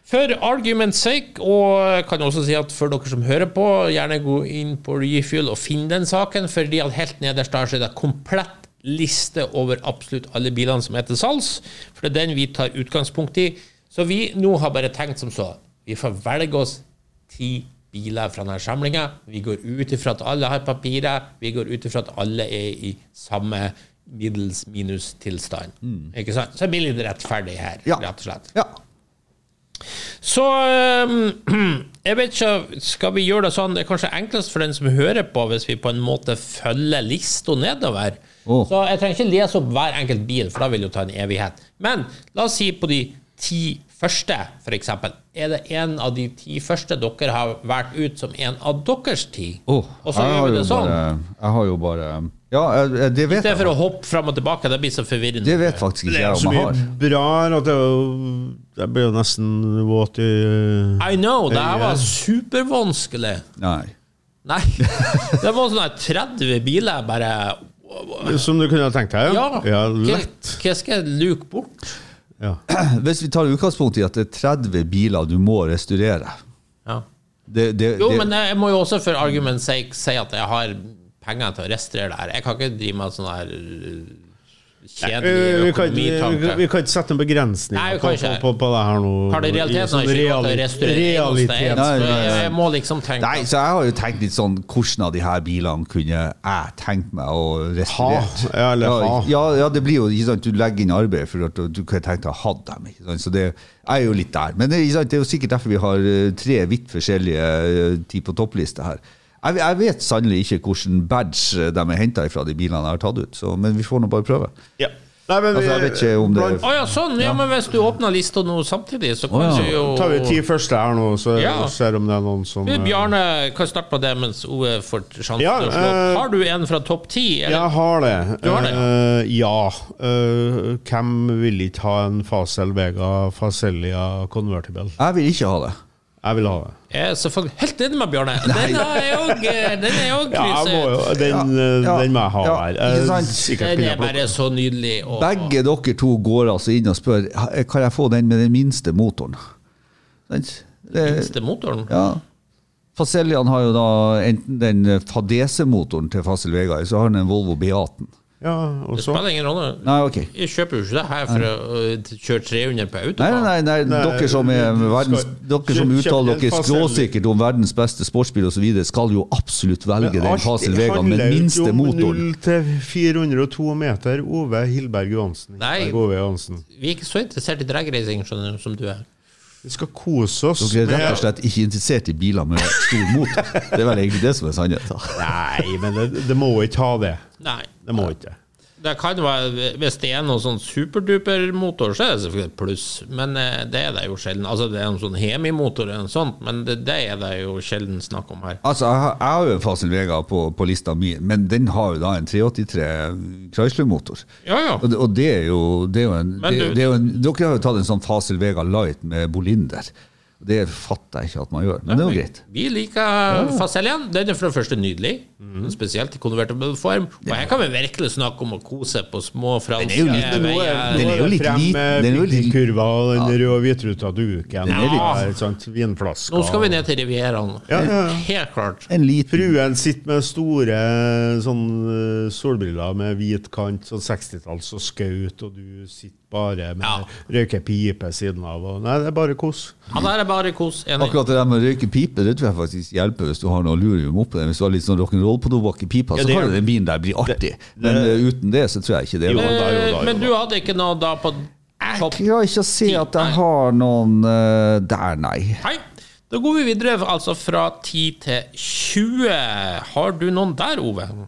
Speaker 3: For argument's sake, og jeg kan også si at for dere som hører på, gjerne gå inn på Refuel og finn den saken, fordi at helt nederst der så er det komplett liste over absolutt alle bilene som er til salgs, for det er den vi tar utgangspunkt i. Så vi nå har bare tenkt som så. Vi får velge oss ti biler fra denne samlinga. Vi går ut ifra at alle har papirer, vi går ut ifra at alle er i samme middels minus tilstand. Ikke sant? Så det blir litt rettferdig her,
Speaker 5: Ja.
Speaker 3: rett og slett.
Speaker 5: Ja.
Speaker 3: Så ehm, jeg vet ikke, skal vi gjøre det sånn? Det er kanskje enklest for den som hører på, hvis vi på en måte følger lista nedover.
Speaker 5: Åh.
Speaker 3: Så jeg trenger ikke lese opp hver enkelt bil, for da vil det jo ta en evighet. Men la oss si på de ti første, f.eks. Er det en av de ti første dere har valgt ut som en av deres ti?
Speaker 5: Åh,
Speaker 3: Og så
Speaker 5: jeg
Speaker 3: gjør
Speaker 5: har
Speaker 3: vi
Speaker 5: jo
Speaker 3: det sånn.
Speaker 5: Bare, jeg har jo bare Ja, jeg- jeg- det
Speaker 3: I
Speaker 5: vet
Speaker 3: stedet
Speaker 5: jeg.
Speaker 3: for å hoppe fram og tilbake, det blir så forvirrende.
Speaker 5: Det vet faktisk ikke
Speaker 4: Det
Speaker 5: jeg
Speaker 4: er så
Speaker 5: om jeg
Speaker 4: mye
Speaker 5: har.
Speaker 4: bra her at det, er jo- jeg blir jo nesten våt i eh,
Speaker 3: I know, det her var supervanskelig.
Speaker 5: Nei.
Speaker 3: Nei. Det var sånn her 30 biler, bare
Speaker 4: Som du kunne ha tenkt deg?
Speaker 3: Ja,
Speaker 4: ja
Speaker 3: hva,
Speaker 4: lett.
Speaker 3: hva skal jeg luke bort?
Speaker 4: Ja.
Speaker 5: Hvis vi tar utgangspunkt i at det er 30 biler du må restaurere det, det,
Speaker 3: Jo,
Speaker 5: det,
Speaker 3: men jeg må jo også for argument's sake si at jeg har penger til å restaurere det her. Jeg kan ikke drive med sånn her øh,
Speaker 4: Eh,
Speaker 3: kjedelig
Speaker 4: Vi kan, vi, vi- vi
Speaker 3: økonomitanke.
Speaker 4: kan ikke sette en begrensning
Speaker 3: Nei, vi
Speaker 4: på,
Speaker 3: kan
Speaker 4: på,
Speaker 3: ikke.
Speaker 4: på, på det her nå.
Speaker 3: Har det i realiteten
Speaker 4: sånn
Speaker 3: har jeg ikke råd til å
Speaker 4: reali-
Speaker 3: restaurere en eneste en,
Speaker 4: realitet.
Speaker 5: Nei,
Speaker 3: så
Speaker 5: nei,
Speaker 3: jeg,
Speaker 5: nei.
Speaker 3: jeg må liksom tenke
Speaker 5: Nei,
Speaker 3: at-
Speaker 5: så jeg har jo tenkt litt sånn Hvordan av de her bilene kunne jeg tenkt meg å restaurere?
Speaker 4: Ha, ja, eller ha.
Speaker 5: ja, ja, det blir jo ikke sant, du legger inn arbeid for at du- du kunne tenkt deg å ha dem. Ikke sant? Så det jeg er jo litt der. Men det, ikke sant, det er jo sikkert derfor vi har eh, tre vidt forskjellige eh, ti på toppliste her. Jeg, jeg vet sannelig ikke hvilken badge eh, de er henta ifra de bilene jeg har tatt ut, så, men vi får nå bare prøve.
Speaker 4: Ja. Nei, men
Speaker 5: Altså, jeg vet ikke om det-
Speaker 3: Å ja, sånn! Ja, men hvis du åpner lista nå samtidig, så kan
Speaker 5: Å, ja.
Speaker 3: du jo
Speaker 4: tar vi ti første her nå, så
Speaker 3: Ja.
Speaker 4: ser om det er noen som eh,
Speaker 3: Bjarne kan starte på det mens Ove får sjansen
Speaker 4: Ja,
Speaker 3: til å slå opp.
Speaker 4: eh,
Speaker 3: Har du en fra topp ti?
Speaker 4: Jeg har det.
Speaker 3: Du har det,
Speaker 4: Eh, ja. Eh, hvem vil ikke ha en Facel Vega Facelia Convertible?
Speaker 5: Jeg vil ikke ha det.
Speaker 4: Jeg vil ha det.
Speaker 3: Jeg er selvfølgelig helt enig med Bjarne. Den har jeg òg Den er òg
Speaker 4: Ja, jeg må jo,
Speaker 3: krysset.
Speaker 4: den, eh,
Speaker 5: Ja,
Speaker 4: den må jeg ha
Speaker 5: ja,
Speaker 4: her.
Speaker 5: ikke
Speaker 4: Eh,
Speaker 5: sant?
Speaker 4: Sikkert
Speaker 3: Den
Speaker 4: kunne
Speaker 3: er
Speaker 4: jeg plukke.
Speaker 3: bare så nydelig. Og,
Speaker 5: Begge dere to går altså inn og spør Kan jeg få den med den minste motoren. Sant? Det-
Speaker 3: minste motoren.
Speaker 5: eh, Ja. Facelian har jo da enten den eh, Fadese-motoren til Fasel Vegard, så har han en Volvo Beaten.
Speaker 4: Ja, og
Speaker 3: Det
Speaker 4: så
Speaker 3: spiller ingen rolle.
Speaker 5: Nei, ok.
Speaker 3: Jeg kjøper jo ikke det her for å øh, kjøre 300 på
Speaker 5: Nei,
Speaker 3: autobahn.
Speaker 5: nei, nei,
Speaker 4: Nei,
Speaker 5: dere som, er
Speaker 4: du
Speaker 5: verdens,
Speaker 4: skal-
Speaker 5: dere som
Speaker 4: kjøp-
Speaker 5: uttaler
Speaker 4: kjøp
Speaker 5: dere
Speaker 4: en Facel.
Speaker 5: skråsikkert om verdens beste sportsbil osv., skal jo absolutt velge den Fasel Vegard med
Speaker 4: handler jo
Speaker 5: minste
Speaker 4: om 0
Speaker 5: motoren.
Speaker 4: til 402 meter. Ove Hilberg Johansen.
Speaker 3: Nei.
Speaker 4: Hilberg Ove Johansen.
Speaker 3: Vi er ikke så interessert i dragracing skjønner du, som du er.
Speaker 4: Vi skal kose oss
Speaker 5: Dere er rett og slett ikke interessert i biler med stor motor. Det er vel egentlig det som er sannheten.
Speaker 4: Nei, men det, det må ikke ha det.
Speaker 3: Nei.
Speaker 4: Det må ikke.
Speaker 3: Det kan være, Hvis det er noen sånn superduper-motor, så er det selvfølgelig et pluss. Men eh, det er det jo sjelden. Altså, det er en sånn hemimotor eller noe sånt, men det, det er det jo sjelden snakk om her.
Speaker 5: Altså, jeg har- jeg har jo en Fasel Vegard på, på lista mi, men den har jo da en 383 Chrysler-motor.
Speaker 3: Ja, ja.
Speaker 5: Og det, og det er jo, det er jo, en,
Speaker 3: Men
Speaker 5: det,
Speaker 3: du-
Speaker 5: det er jo en Dere har jo tatt en sånn Fasel Vega Light med Bolinder. Det fatter jeg ikke at man gjør, men det er jo greit.
Speaker 3: Vi liker Faseljan. Den er for det første nydelig,
Speaker 5: Mhm.
Speaker 3: spesielt i konvertibel form. Og her kan vi virkelig snakke om å kose på små franske
Speaker 5: jo litt-
Speaker 4: Nå
Speaker 3: veier.
Speaker 5: Den er jo
Speaker 4: det
Speaker 5: litt
Speaker 4: frem
Speaker 5: liten,
Speaker 4: med
Speaker 5: den er jo litt-
Speaker 4: piknikkurva og den røde hvitruta duken.
Speaker 5: Den er litt-
Speaker 4: Ja, ikke sant? Vinflasker.
Speaker 3: Nå skal vi ned til Rivieraen.
Speaker 4: Ja, ja, ja.
Speaker 3: Helt klart.
Speaker 5: En liten
Speaker 4: Fruen sitter med store sånn, eh, solbriller med hvit kant, sånn 60-talls og skaut, og du sitter bare med
Speaker 3: Ja.
Speaker 4: røyker pipe siden av. Og, nei, det er bare kos.
Speaker 3: Ja, der er bare kos. Enig.
Speaker 5: Akkurat det der med å røyke pipe det tror jeg faktisk hjelper hvis du har noe lurium oppi den. Hvis du har litt sånn rock'n'roll på tobakk i pipa,
Speaker 4: Ja,
Speaker 5: så
Speaker 4: det
Speaker 5: kan
Speaker 4: gjør-
Speaker 5: jo den bilen der bli artig. Men eh, uten det så tror jeg ikke det.
Speaker 4: Jo,
Speaker 5: var-
Speaker 4: da, jo, da, jo,
Speaker 3: Eh, Men
Speaker 4: da.
Speaker 3: du hadde ikke noe da på topp
Speaker 5: Jeg klarer ikke å se at jeg har noen eh, der, nei.
Speaker 3: Hei. Da går vi videre, altså fra 10 til 20. Har du noen der, Ove?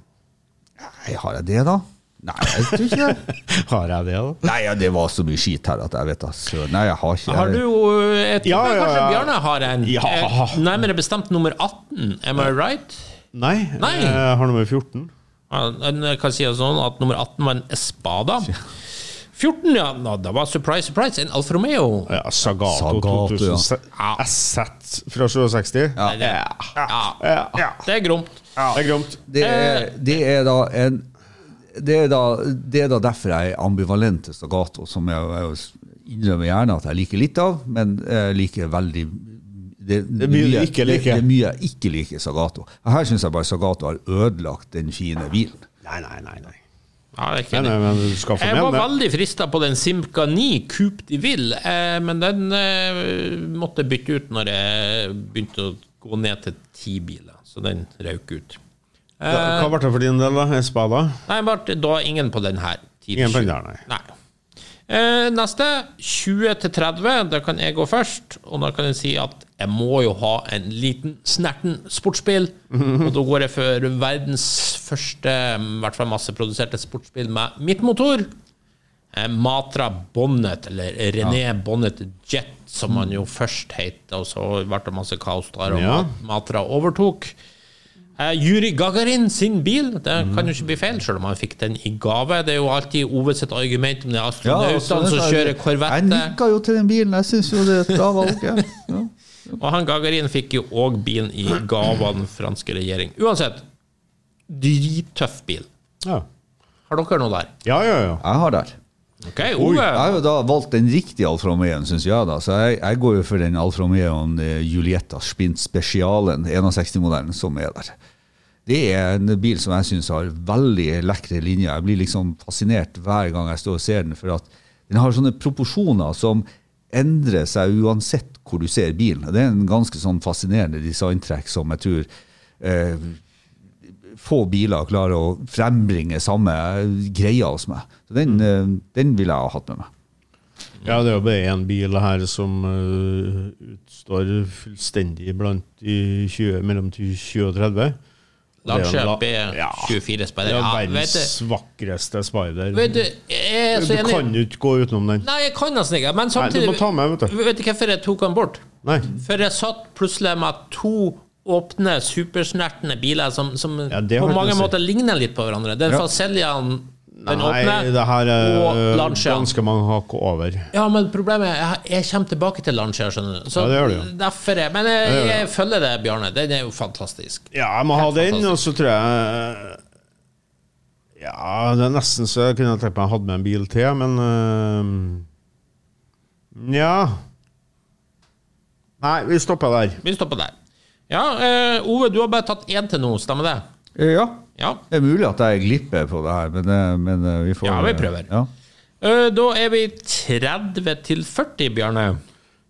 Speaker 5: nei. Har jeg det, da? Nei, jeg tror ikke det.
Speaker 4: Har jeg det, da?
Speaker 5: Nei, ja, det var så mye skit her at jeg vet da søren. Nei, jeg har ikke
Speaker 3: Har du øh, et
Speaker 4: Ja,
Speaker 3: Nei,
Speaker 4: ja,
Speaker 3: Kanskje
Speaker 4: ja.
Speaker 3: Bjarne har en?
Speaker 4: Ja.
Speaker 3: Eh, Nærmere bestemt nummer 18, am I right?
Speaker 4: Nei,
Speaker 3: Nei.
Speaker 4: jeg har nummer 14.
Speaker 3: Ja, en kan si det sånn at nummer 18 var en Espada. 14, ja. Nå, det var surprise, surprise, en Alfa Romeo.
Speaker 4: Ja, Sagato,
Speaker 5: Sagato, ja.
Speaker 4: 2000
Speaker 3: Ja.
Speaker 4: SZ fra 67. Ja.
Speaker 3: Nei, det- Ja,
Speaker 4: Ja.
Speaker 3: det er gromt.
Speaker 4: Det er gromt.
Speaker 5: Det
Speaker 4: Eh,
Speaker 5: er, det er da en det er da, det er da derfor jeg er ambivalent til Stagato, som jeg, jeg innrømmer gjerne at jeg liker litt av, men jeg liker veldig det,
Speaker 4: er mye du ikke liker.
Speaker 5: Det, det er mye jeg ikke liker i Sagato. Her syns jeg bare Sagato har ødelagt den fine bilen.
Speaker 4: Nei, nei, nei. nei.
Speaker 3: Ja, det er ikke
Speaker 4: nei, nei
Speaker 3: det.
Speaker 4: men du skal få
Speaker 3: Jeg var
Speaker 4: med det.
Speaker 3: veldig frista på den Simca 9 Coupe de Ville, eh, men den eh, måtte jeg bytte ut når jeg begynte å gå ned til ti biler, så den røk ut.
Speaker 4: Da-
Speaker 3: eh,
Speaker 4: Hva ble det for din del, da? Espada?
Speaker 3: Nei, Bart, da er ingen på den her. Tid
Speaker 4: Ingen på
Speaker 3: sju.
Speaker 4: den der, nei.
Speaker 3: Eh, neste, 20 til 30. Da kan jeg gå først. Og da kan jeg si at jeg må jo ha en liten snerten sportsbil. Og da går jeg for verdens første, mm, i hvert fall masseproduserte, sportsbil med midtmotor. Eh, Matra Bonnet, eller René Bonnet Jet, som han jo først het. Og så ble det masse kaos der, og
Speaker 4: Ja.
Speaker 3: Mat- Matra overtok. Eh, Yuri Gagarin sin bil, det kan jo ikke bli feil, selv om han fikk den i gave. Det er jo alltid Ove sitt argument om det er astronautene som kjører
Speaker 5: Jeg
Speaker 3: korvette.
Speaker 5: nikka jo til den bilen, jeg syns jo det er et bra valg. Ja. Ja.
Speaker 3: Og han Gagarin fikk jo òg bilen i gave av den franske regjering. Uansett, drittøff bil.
Speaker 4: Ja,
Speaker 3: Har dere noe der?
Speaker 4: ja, ja. ja.
Speaker 5: Jeg har der.
Speaker 3: OK, Ove.
Speaker 5: Jeg har jo da valgt den riktige Alfa Romeoen, syns jeg. da, Så jeg, jeg går jo for den Alfa Romeoen eh, Julietta Spint Specialen, 61-modellen, som er der. Det er en bil som jeg syns har veldig lekre linjer. Jeg blir liksom fascinert hver gang jeg står og ser den, for at den har sånne proporsjoner som endrer seg uansett hvor du ser bilen. Det er en ganske sånn fascinerende designtrekk som jeg tror eh, få biler klarer å frembringe samme greia hos meg. Så den, eh, den ville jeg ha hatt med meg.
Speaker 4: Ja, det er jo bare én bil her som eh, utstår fullstendig blant de 20, mellom 20 og 30.
Speaker 3: Lancia
Speaker 4: Det er en la-
Speaker 3: B24
Speaker 4: Det
Speaker 3: Spider.
Speaker 4: er
Speaker 3: Ja, vet
Speaker 4: verdens
Speaker 3: du,
Speaker 4: vakreste spider.
Speaker 3: vet du, jeg er
Speaker 4: du
Speaker 3: så
Speaker 4: kan
Speaker 3: enig.
Speaker 4: jo ikke gå utenom den.
Speaker 3: Nei, jeg kan nesten ikke. Men
Speaker 4: Nei, du
Speaker 3: samtidig
Speaker 4: må ta med, vet du.
Speaker 3: Vet du hvorfor jeg tok han bort?
Speaker 4: Nei.
Speaker 3: For jeg satt plutselig med to åpne, supersnertne biler som, som
Speaker 4: Ja, det har
Speaker 3: på
Speaker 4: ikke
Speaker 3: mange
Speaker 4: noe å si.
Speaker 3: måter ligner litt på hverandre. Den
Speaker 5: Ja.
Speaker 3: Facellian, den
Speaker 4: Nei, det
Speaker 3: åpne,
Speaker 4: her er
Speaker 3: og
Speaker 4: eh,
Speaker 3: Lancia.
Speaker 4: ganske mange hakk over.
Speaker 3: Ja, men problemet er jeg- jeg kommer tilbake til Lancia, skjønner du. Så
Speaker 4: Ja, det gjør du jo.
Speaker 3: derfor er Men jeg, jeg følger det, Bjarne. Den er jo fantastisk.
Speaker 4: Ja, jeg må ha
Speaker 3: Helt
Speaker 4: den,
Speaker 3: fantastisk.
Speaker 4: og så tror jeg eh, Ja, det er nesten så jeg kunne tenkt meg å ha med en bil til, men øh, Nja Nei, vi stopper der.
Speaker 3: Vi stopper der. Ja, eh, Ove, du har bare tatt én til nå, stemmer det?
Speaker 5: Eh, Ja.
Speaker 3: Ja.
Speaker 5: Det er mulig at jeg glipper på det her, men, eh, men eh, vi får
Speaker 3: Ja, vi prøver.
Speaker 5: Ja.
Speaker 3: Eh, da er vi 30 til 40, Bjarne.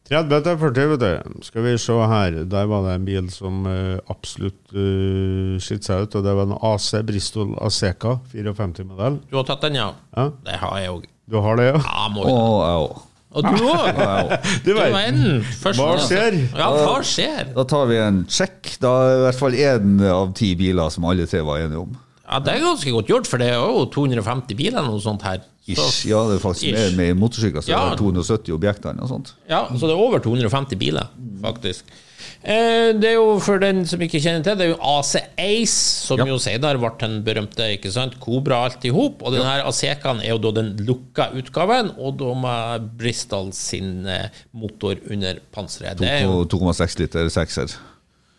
Speaker 4: 30 til 40, vet du. Skal vi se her. Der var det en bil som eh, absolutt uh, skilte seg ut, og det var en AC Bristol Aseca 54-modell.
Speaker 3: Du har tatt den, ja?
Speaker 4: Ja.
Speaker 3: Det har jeg òg.
Speaker 4: Du har det, ja?
Speaker 3: Ja, må
Speaker 5: Å,
Speaker 3: jo.
Speaker 5: au.
Speaker 3: Og du òg!
Speaker 4: Du
Speaker 3: Du
Speaker 4: verden.
Speaker 3: verden. Først-
Speaker 4: Hva skjer?
Speaker 3: Ja, hva skjer?
Speaker 5: Da tar vi en sjekk. Da er det i hvert fall én av ti biler som alle tre var enige om.
Speaker 3: Ja, Det er ganske godt gjort, for det er jo 250 biler eller noe sånt her.
Speaker 5: Ish.
Speaker 3: Så,
Speaker 5: Ja, det er faktisk
Speaker 3: Ish.
Speaker 5: mer med motorsykler, så
Speaker 3: Ja.
Speaker 5: det er 270 objekter og sånt.
Speaker 3: ja, så det er over 250 biler, faktisk. Eh, Det er jo, for den som ikke kjenner til, det er jo AC Ace, som jo senere ble den berømte ikke sant, Cobra alt i hop. Og den her Asecaen er jo da den lukka utgaven, og da med Bristol sin eh, motor under panseret. Det er jo
Speaker 5: På 2,6 liter sekser.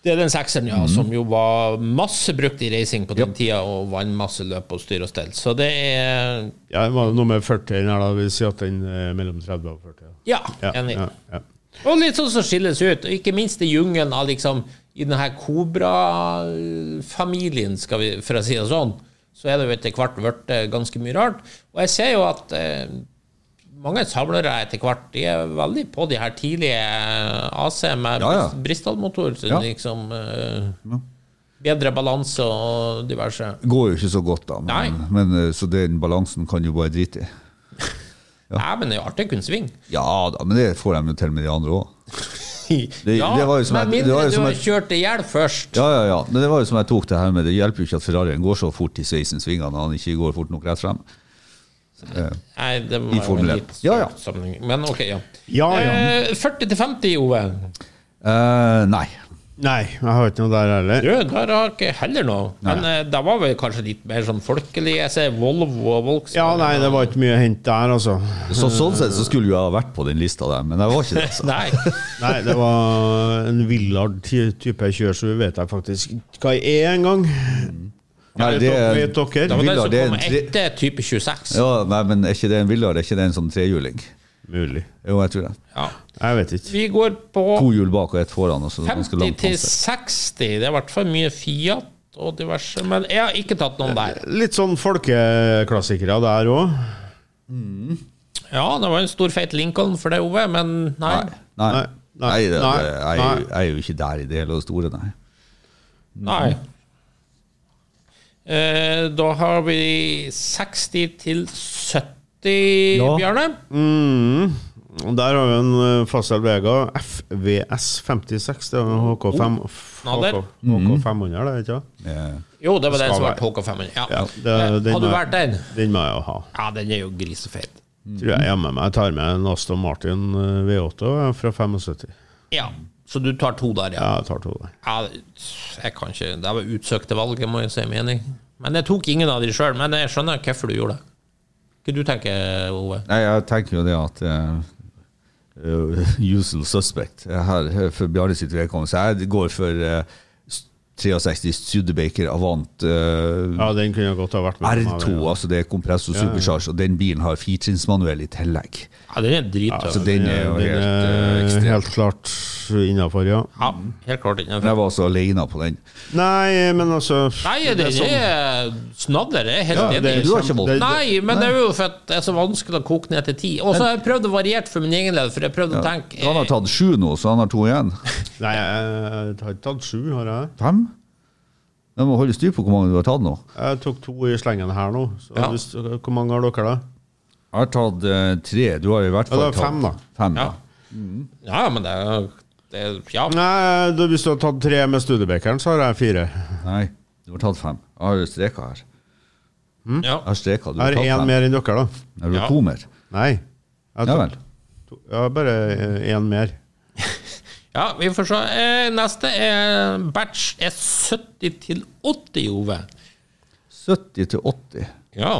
Speaker 3: Det er den sekseren, ja,
Speaker 5: Mhm.
Speaker 3: som jo var masse brukt i racing på den tida, og vant masse løp og styr og stell. Så det er
Speaker 4: Ja, det var noe med 40 her, da. Vi sier at den er mellom 30 og 40. da.
Speaker 3: Ja,
Speaker 4: Ja,
Speaker 3: enig.
Speaker 4: ja, ja.
Speaker 3: Og litt sånn som skilles ut, og ikke minst i jungelen av liksom I denne her kobra-familien, skal vi, for å si det sånn, så er det jo etter hvert blitt eh, ganske mye rart. Og jeg ser jo at eh, mange samlere etter hvert de er veldig på de her tidlige AC med
Speaker 5: Ja, ja.
Speaker 3: Brist- Bristol-motor. så
Speaker 5: Ja.
Speaker 3: liksom eh, Bedre balanse og diverse.
Speaker 5: Går jo ikke så godt, da,
Speaker 3: Nei.
Speaker 5: men, men eh, så den balansen kan jo bare drite i.
Speaker 3: Nei, men det er jo artig å kunne svinge.
Speaker 5: Ja da, men det får de jo til med de andre òg. Det-
Speaker 3: ja,
Speaker 5: det var jo som
Speaker 3: med
Speaker 5: et- det
Speaker 3: mindre
Speaker 5: var jo
Speaker 3: du
Speaker 5: som
Speaker 3: har
Speaker 5: et-
Speaker 3: kjørt i hjel først.
Speaker 5: Ja, ja, ja. Men det var jo som jeg tok det her med, det hjelper jo ikke at Ferrarien går så fort i Sveisen-svingene når han ikke går fort nok rett frem.
Speaker 3: Nei, det
Speaker 5: I
Speaker 3: var jo
Speaker 5: Formel
Speaker 3: en
Speaker 5: 1.
Speaker 3: litt
Speaker 5: Ja, ja.
Speaker 3: sammenheng. Men ok, ja.
Speaker 4: Ja, ja.
Speaker 3: Eh, 40 til 50, Ove.
Speaker 5: Eh, nei.
Speaker 4: Nei, jeg har ikke noe der heller.
Speaker 3: Du, der har ikke heller noe. Men eh, det var vel kanskje litt mer sånn folkelig. Jeg ser Volvo og Volkswagen.
Speaker 4: Ja, nei, det var ikke mye å hente der, altså.
Speaker 5: Så, sånn sett så skulle jo jeg ha vært på den lista der, men jeg var ikke det. altså. Så.
Speaker 3: Nei.
Speaker 4: Nei, det var en villard ty- type kjørsel, vet jeg faktisk hva jeg er engang.
Speaker 5: Nei,
Speaker 4: Vet
Speaker 5: det
Speaker 4: dere-
Speaker 5: er,
Speaker 4: vet dere?
Speaker 3: Det var den
Speaker 5: Villa,
Speaker 3: som
Speaker 5: det er
Speaker 3: kom
Speaker 5: en tre-
Speaker 3: etter type 26.
Speaker 5: ja, nei, men er ikke det en villard? Er ikke det en sånn trehjuling?
Speaker 4: Mulig.
Speaker 5: Jo, jeg tror det.
Speaker 3: Ja.
Speaker 4: Jeg vet ikke.
Speaker 3: Vi går på
Speaker 5: To hjul bak og ett foran. altså, sånn Og så ganske
Speaker 3: 50
Speaker 5: langt
Speaker 3: til
Speaker 5: panser.
Speaker 3: 60. Det er i hvert fall mye Fiat og diverse. Men jeg har ikke tatt noen der.
Speaker 4: Litt sånn folkeklassikere der òg.
Speaker 3: Ja, det var en stor, feit Lincoln for deg, Ove, men nei.
Speaker 5: Nei. Nei.
Speaker 4: Nei, nei,
Speaker 5: Nei, det, det,
Speaker 4: nei,
Speaker 5: jeg, er jo- jeg er jo ikke der i det hele og store, nei.
Speaker 3: Nei. Eh, da har vi 60 til 70,
Speaker 5: Ja.
Speaker 3: Bjarne.
Speaker 4: Mm. Og Der har vi en eh, Fasel Vega FVS 56. Det er en HK5
Speaker 3: Nader.
Speaker 4: HK,
Speaker 5: Mm.
Speaker 4: HK500, det, ikke sant?
Speaker 5: Eh,
Speaker 3: Jo, det var den
Speaker 4: Skal
Speaker 3: som var
Speaker 4: være.
Speaker 3: HK500. Ja.
Speaker 4: Ja, det-
Speaker 3: Eh,
Speaker 4: den
Speaker 3: har du
Speaker 4: er-
Speaker 3: vært den?
Speaker 4: Den må jeg jo ha.
Speaker 3: Ja, den er jo grisefeit.
Speaker 5: Mm.
Speaker 4: Tror jeg er med meg. Jeg tar med en Aston Martin eh, V8 og jeg er fra 75.
Speaker 3: Ja, så du tar to der, ja.
Speaker 4: Ja, jeg tar to der.
Speaker 3: ja jeg kan ikke, det var utsøkte valg, jeg må jo si mening. Men jeg tok ingen av de sjøl. Men jeg skjønner hvorfor du gjorde det. Hva du tenker Ove?
Speaker 5: Nei, jeg tenker jo det at eh, eh, Usual suspect eh, her eh, for Bjarne sitt vedkommende. Så jeg går for eh, s- 63 Studebaker Avant eh,
Speaker 4: Ja, den kunne jeg godt ha vært med. meg,
Speaker 5: R2,
Speaker 4: den.
Speaker 5: altså det er kompressor supercharge, og den bilen har firetrinnsmanuell i tillegg.
Speaker 3: Ja, den er drittøff.
Speaker 5: Så den er jo
Speaker 4: Altså, Den
Speaker 5: helt eh,
Speaker 4: er
Speaker 5: ekstrem.
Speaker 4: helt klart innafor, ja.
Speaker 3: Ja, helt klart innenfor.
Speaker 5: Jeg var så alene på den.
Speaker 4: Nei, men altså
Speaker 3: Nei, det, det er snadder. Jeg er helt
Speaker 4: Ja,
Speaker 3: enig.
Speaker 4: det er
Speaker 5: Du har ikke valgt.
Speaker 3: Nei, men det er jo for at det er så vanskelig å koke ned til ti. Og så har jeg prøvd å variere for min egen del, for jeg prøvde å tenke
Speaker 5: Han har tatt sju nå, så han har to igjen.
Speaker 4: Nei, jeg har ikke tatt sju, har jeg.
Speaker 5: Fem? Jeg må holde styr på hvor mange du har tatt nå.
Speaker 4: Jeg tok to i slengen her nå. Så
Speaker 3: Ja.
Speaker 4: hvis, hvor mange har dere, da?
Speaker 5: Jeg har tatt eh, tre. Du har i hvert fall
Speaker 4: Ja, det er fem, da.
Speaker 5: tatt fem.
Speaker 3: Ja. Ja, men det er det, er- Ja.
Speaker 4: Nei, du, Hvis du har tatt tre med Studebakeren, så har jeg fire.
Speaker 5: Nei, du har tatt fem. Jeg har jo streka her.
Speaker 3: ja.
Speaker 5: Jeg har streka. Du
Speaker 4: Jeg
Speaker 5: har
Speaker 4: har
Speaker 5: tatt
Speaker 4: én
Speaker 5: fem.
Speaker 4: mer enn dere, da.
Speaker 5: Er du
Speaker 3: Ja.
Speaker 5: to mer?
Speaker 4: Nei. Jeg
Speaker 5: Ja
Speaker 4: tok-
Speaker 5: vel.
Speaker 4: to- jeg har bare eh, én mer.
Speaker 3: ja vi får se. Eh, Neste er batch er 70 til 80, Ove.
Speaker 5: 70 til 80.
Speaker 3: Ja.